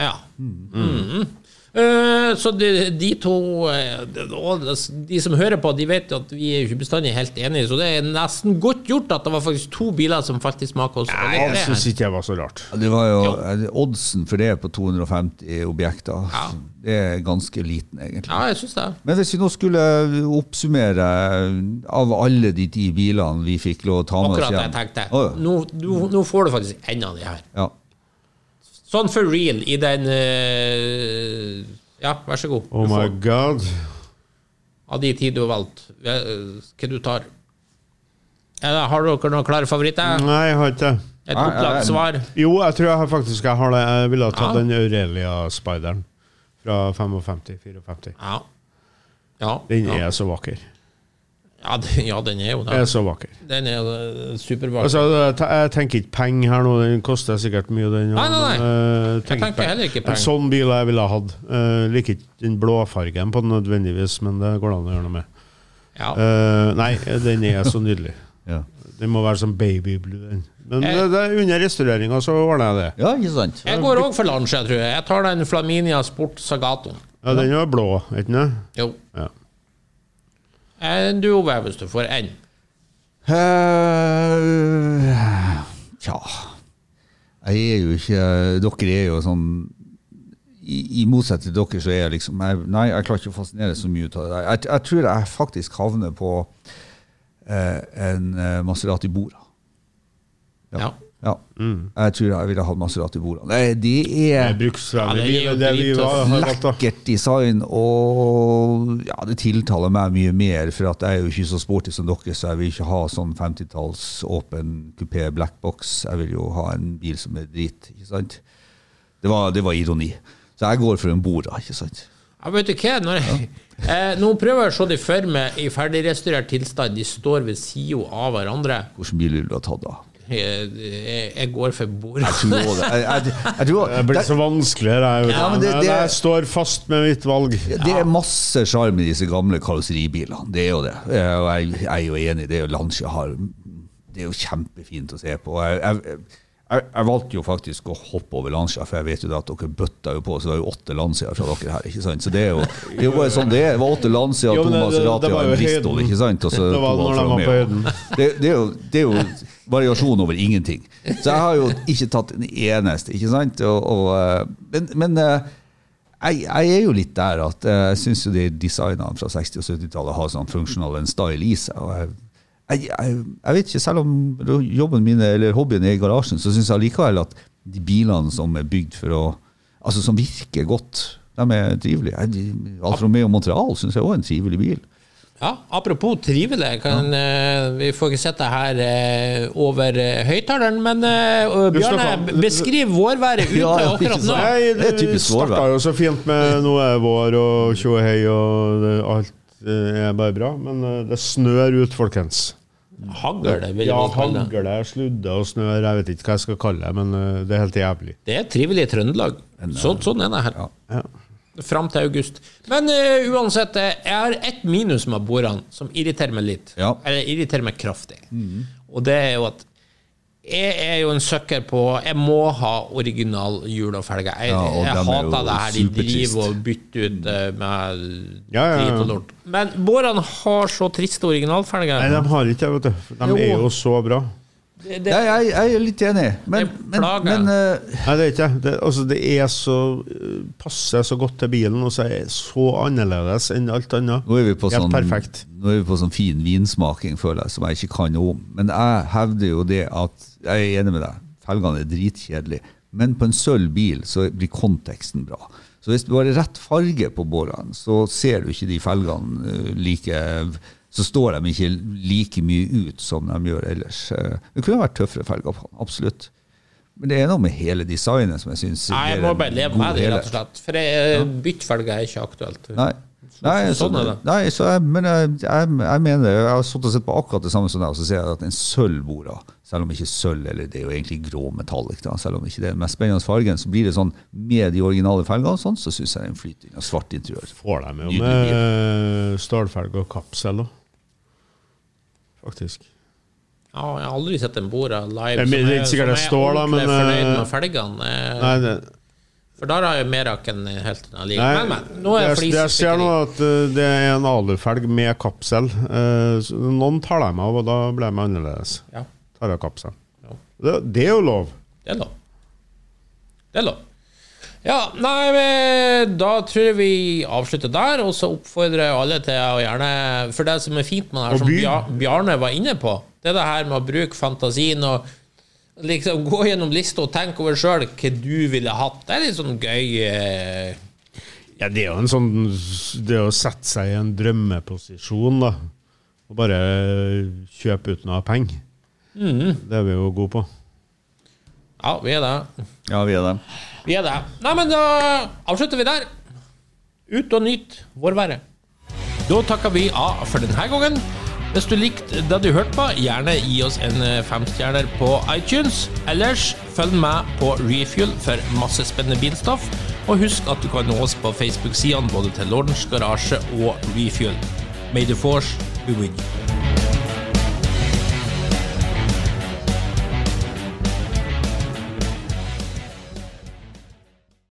Speaker 3: Ja. Mhm. Eh, så de, de to eh, og De som hører på, de vet at vi er jo ikke bestandig helt enige, så det er nesten godt gjort at det var faktisk to biler som falt i smak hos alle
Speaker 4: Jeg
Speaker 3: tre her.
Speaker 4: syns ikke jeg var så rart.
Speaker 5: Ja, Det var jo, eh, Oddsen for det på 250 objekter,
Speaker 3: Ja.
Speaker 5: det er ganske liten, egentlig.
Speaker 3: Ja, jeg syns det.
Speaker 5: Men hvis vi nå skulle oppsummere av alle de ti bilene vi fikk lov å ta med oss
Speaker 3: Akkurat det
Speaker 5: hjem
Speaker 3: jeg tenkte.
Speaker 5: Å, ja.
Speaker 3: Nå, nå, nå får du faktisk en av de her.
Speaker 5: ja.
Speaker 3: Sånn for real i den eh, Ja, vær så god.
Speaker 4: Oh
Speaker 3: Du
Speaker 4: my
Speaker 3: får-
Speaker 4: god.
Speaker 3: Av de ti du har valgt, eh, hva du tar. Eller, har dere noen klare
Speaker 5: Mm.
Speaker 3: favoritter?
Speaker 4: Nei, jeg har ikke det.
Speaker 3: Et
Speaker 5: Nei,
Speaker 3: opplagt
Speaker 5: jeg-
Speaker 3: svar?
Speaker 4: Jo, jeg tror jeg har faktisk jeg har det. Jeg ville ha tatt
Speaker 3: Ja.
Speaker 4: den Aurelia-speideren fra 55-54.
Speaker 3: Ja. Ja,
Speaker 4: Den
Speaker 3: ja.
Speaker 4: er så vakker.
Speaker 3: Ja, den- ja, den er jo
Speaker 4: Er
Speaker 3: det.
Speaker 4: så vakker.
Speaker 3: Den er eh, supervakker.
Speaker 4: Altså, jeg te- jeg tenker ikke penger her nå, den koster sikkert mye, den.
Speaker 3: Nei, nei, nei.
Speaker 4: men, eh,
Speaker 3: Jeg tenker
Speaker 4: peng.
Speaker 3: heller ikke
Speaker 4: En
Speaker 3: penger.
Speaker 4: sånn bil jeg ville ha hatt. Eh, liker ikke den blåfargen på den nødvendigvis, men det går det an å gjøre noe med.
Speaker 3: Ja.
Speaker 4: Eh, nei, den er så nydelig.
Speaker 5: Ja.
Speaker 4: Den må være som babyblue, den.
Speaker 3: Eh.
Speaker 4: Men det, det er under restaureringa så ordner jeg det.
Speaker 5: ja, ikke sant?
Speaker 3: Jeg går òg for Lange, jeg tror jeg. Jeg tar den Flaminia Sport Sagato.
Speaker 4: Ja, den var blå, er ikke den?
Speaker 3: Jo.
Speaker 4: Ja.
Speaker 3: Eh, Du, Ove, hvis du får én.
Speaker 5: Eh, tja Jeg er jo ikke Dere er jo sånn i, I motsetning til dere, så er jeg liksom jeg, Nei, jeg klarer ikke å fascinere så mye ut av det. der. Jeg, jeg tror jeg faktisk havner på eh, en eh, Maserati Bora.
Speaker 3: Ja.
Speaker 5: Ja.
Speaker 4: Mm.
Speaker 5: Jeg tror jeg ville hatt Maserati Bora. Nei, det
Speaker 4: Det er
Speaker 5: er
Speaker 4: bruksvennlig
Speaker 3: Ja, det er jo
Speaker 4: bil, det er det vi
Speaker 3: dritt,
Speaker 4: har har hatt, da.
Speaker 5: lekkert design, og ja, det tiltaler meg mye mer, for at jeg er jo ikke så sporty som dere, så jeg vil ikke ha sånn 50-talls åpen kupé black box. Jeg vil jo ha en bil som er drit, ikke sant? Det var, det var ironi. Så jeg går for en Bora, ikke sant?
Speaker 3: Ja, vet du hva? Når jeg, eh, nå prøver jeg å se de for meg i ferdigrestaurert tilstand. De står ved sida av hverandre.
Speaker 5: Hvilken bil ville du ha tatt da?
Speaker 3: Jeg, jeg, jeg går for bordet.
Speaker 5: Jeg tror også det. Jeg, jeg, jeg tror,
Speaker 4: Det blir så vanskelig, det her.
Speaker 5: Ja, men det-
Speaker 4: Jeg-
Speaker 5: det-
Speaker 4: Jeg står fast med mitt valg.
Speaker 5: Det- Det er masse sjarm i disse gamle karosseribilene. Det er jo det. Eh, Og jeg, jeg er jo enig. Det er jo Lancia har Det er jo kjempefint å se på. Jeg, jeg, jeg, jeg valgte jo faktisk å hoppe over Lancia, for jeg vet jo det at dere bøtta jo på, så det var jo åtte Lanciaer fra dere her. ikke sant? Så det er jo, det er jo bare sånn det er. Det var åtte Lancia,
Speaker 4: Jo,
Speaker 5: to
Speaker 4: men det- det- det
Speaker 5: Maserati
Speaker 4: var
Speaker 5: og
Speaker 4: jo
Speaker 5: en Bristol,
Speaker 4: høyden.
Speaker 5: ikke sant? Og så
Speaker 4: Det var
Speaker 5: altså,
Speaker 4: når
Speaker 5: to
Speaker 4: de var på
Speaker 5: Alfa Romeo.
Speaker 4: høyden.
Speaker 5: Det, det, er jo, det er jo variasjon over ingenting. Så jeg har jo ikke tatt en eneste, ikke sant? Og, og, eh, men men eh, jeg, jeg er jo litt der at eh, jeg syns jo de designene fra 60- og 70-tallet har sånn functional and style i seg. og jeg jeg, jeg, jeg vet ikke, selv om jobben min er- eller hobbyen er i garasjen, så syns jeg likevel at de bilene som er bygd for å Altså som virker godt, de er trivelige. Jeg- altså, de- Alfa Romeo Montreal syns jeg òg er en trivelig bil.
Speaker 3: Ja, apropos trivelig. Kan, eh, vi får ikke sett det her eh, over eh, høyttaleren, men eh, og
Speaker 4: Du
Speaker 3: Bjarne,
Speaker 4: snakker om-
Speaker 3: beskriv vårværet ute
Speaker 5: Ja, ja, ikke
Speaker 3: akkurat nå.
Speaker 5: sant.
Speaker 4: Nei,
Speaker 5: Det er
Speaker 4: det
Speaker 5: typisk vår,
Speaker 4: starta
Speaker 5: vel.
Speaker 4: jo så fint med nå er vår og tjo og hei og det- alt eh, er bare bra, men eh, det snør ut, folkens.
Speaker 3: Hagl, det vil jeg
Speaker 4: Ja,
Speaker 3: vel kalle det.
Speaker 4: hagle, sludde og snør, jeg vet ikke hva jeg skal kalle det, men eh, det er helt jævlig.
Speaker 3: Det er trivelig i Trøndelag.
Speaker 5: eh,
Speaker 3: Sånn, sånn er det her.
Speaker 4: Ja.
Speaker 3: Fram til august. Men eh, uansett, eh, jeg har ett minus med bordene som irriterer meg litt.
Speaker 5: Ja. Mhm.
Speaker 3: Eller irriterer meg kraftig. Og det er jo at jeg er jo en søkker på Jeg må ha original hjul og felger. Jeg,
Speaker 5: Ja, og
Speaker 3: jeg
Speaker 5: dem er
Speaker 3: hater
Speaker 5: jo
Speaker 3: det her de
Speaker 5: supertrist. Mhm.
Speaker 3: driver og bytter ut eh, med
Speaker 4: Ja, ja, ja.
Speaker 3: drit og lort. Men bårene har så triste
Speaker 4: Nei,
Speaker 3: originalfelger.
Speaker 4: de har ikke det, vet du. for De
Speaker 3: Jo.
Speaker 4: er jo så bra.
Speaker 3: Det, det,
Speaker 5: Jeg, jeg, jeg er litt enig, men,
Speaker 3: Det
Speaker 5: men,
Speaker 3: plager.
Speaker 5: men eh,
Speaker 4: Nei, det er ikke det. det. Altså, det er så eh, passer så godt til bilen, og så er det så annerledes enn alt annet.
Speaker 5: nå, er vi på
Speaker 4: Helt
Speaker 5: sånn,
Speaker 4: perfekt.
Speaker 5: nå er vi på sånn fin vinsmaking, føler jeg, som jeg ikke kan noe om. Men jeg hevder jo det at Jeg er enig med deg. Felgene er dritkjedelige. Men på en sølv bil så blir konteksten bra. Så hvis du har rett farge på bårene, så ser du ikke de felgene eh, like Så står de ikke like mye ut som de gjør ellers. Eh, Det kunne vært tøffere felger på den, absolutt. Men det er noe med hele designet som jeg syns
Speaker 3: Nei, jeg
Speaker 5: gir
Speaker 3: må
Speaker 5: en
Speaker 3: bare leve
Speaker 5: god
Speaker 3: med det,
Speaker 5: helhet.
Speaker 3: rett og slett. For jeg, byttfelger er ikke aktuelt.
Speaker 5: Nei. Nei, så,
Speaker 3: sånn er det.
Speaker 5: nei så jeg, men jeg, jeg, jeg mener Jeg har sittet og sett på akkurat det samme som deg, og så ser jeg at en sølvbora, selv om ikke sølv eller det er jo egentlig grå metallic, da, selv om ikke det er den mest spennende fargen, så blir det sånn med de originale felgene og sånn, så syns jeg den flyter inn. Og svart interiør.
Speaker 4: Får de jo
Speaker 5: Nydelig
Speaker 4: med eh, stålfelg og kapsel òg, faktisk.
Speaker 3: Ja, jeg har aldri sett en Bora live
Speaker 4: Jeg mener, det er ikke sikkert det står, da, men,
Speaker 3: fornøyd med
Speaker 4: eh,
Speaker 3: felgene. eh,
Speaker 4: Nei, det,
Speaker 3: For der har jeg Merak-en helt til den
Speaker 4: nei
Speaker 3: liker. Men, men. Nå er
Speaker 4: det, det jeg ser
Speaker 3: flisespikkeri.
Speaker 4: nå, er at eh, det er en alufelg med kapsel. Eh, så Noen tar dem av, og da blir de annerledes.
Speaker 3: Ja,
Speaker 4: Tar av kapsel.
Speaker 3: Ja.
Speaker 4: Det, det er jo lov.
Speaker 3: det er lov. Det er lov. Ja, nei, men da tror jeg vi avslutter der, og så oppfordrer jeg alle til å gjerne For det som er fint med det
Speaker 4: Og
Speaker 3: her, som
Speaker 4: by.
Speaker 3: Bjar- Bjarne var inne på, det er det her med å bruke fantasien og liksom gå gjennom lista og tenke over sjøl hva du ville hatt. Det er litt sånn gøy eh,
Speaker 4: Ja, det er jo en sånn Det å sette seg i en drømmeposisjon, da. Og bare kjøpe uten å ha penger.
Speaker 3: Mm.
Speaker 4: Det er vi jo gode på.
Speaker 3: Ja, vi er det.
Speaker 5: Ja, vi er det.
Speaker 3: Vi er det. Nei, men da avslutter vi der. Ut og nyt vårværet. Da takker vi av for denne gangen. Hvis du likte det du hørte på, gjerne gi oss en eh, femstjerner på iTunes. Ellers følg med på Refuel for masse spennende bilstoff. Og husk at du kan nå oss på Facebook-sidene både til Lordens Garasje og Refuel. May the force be with you.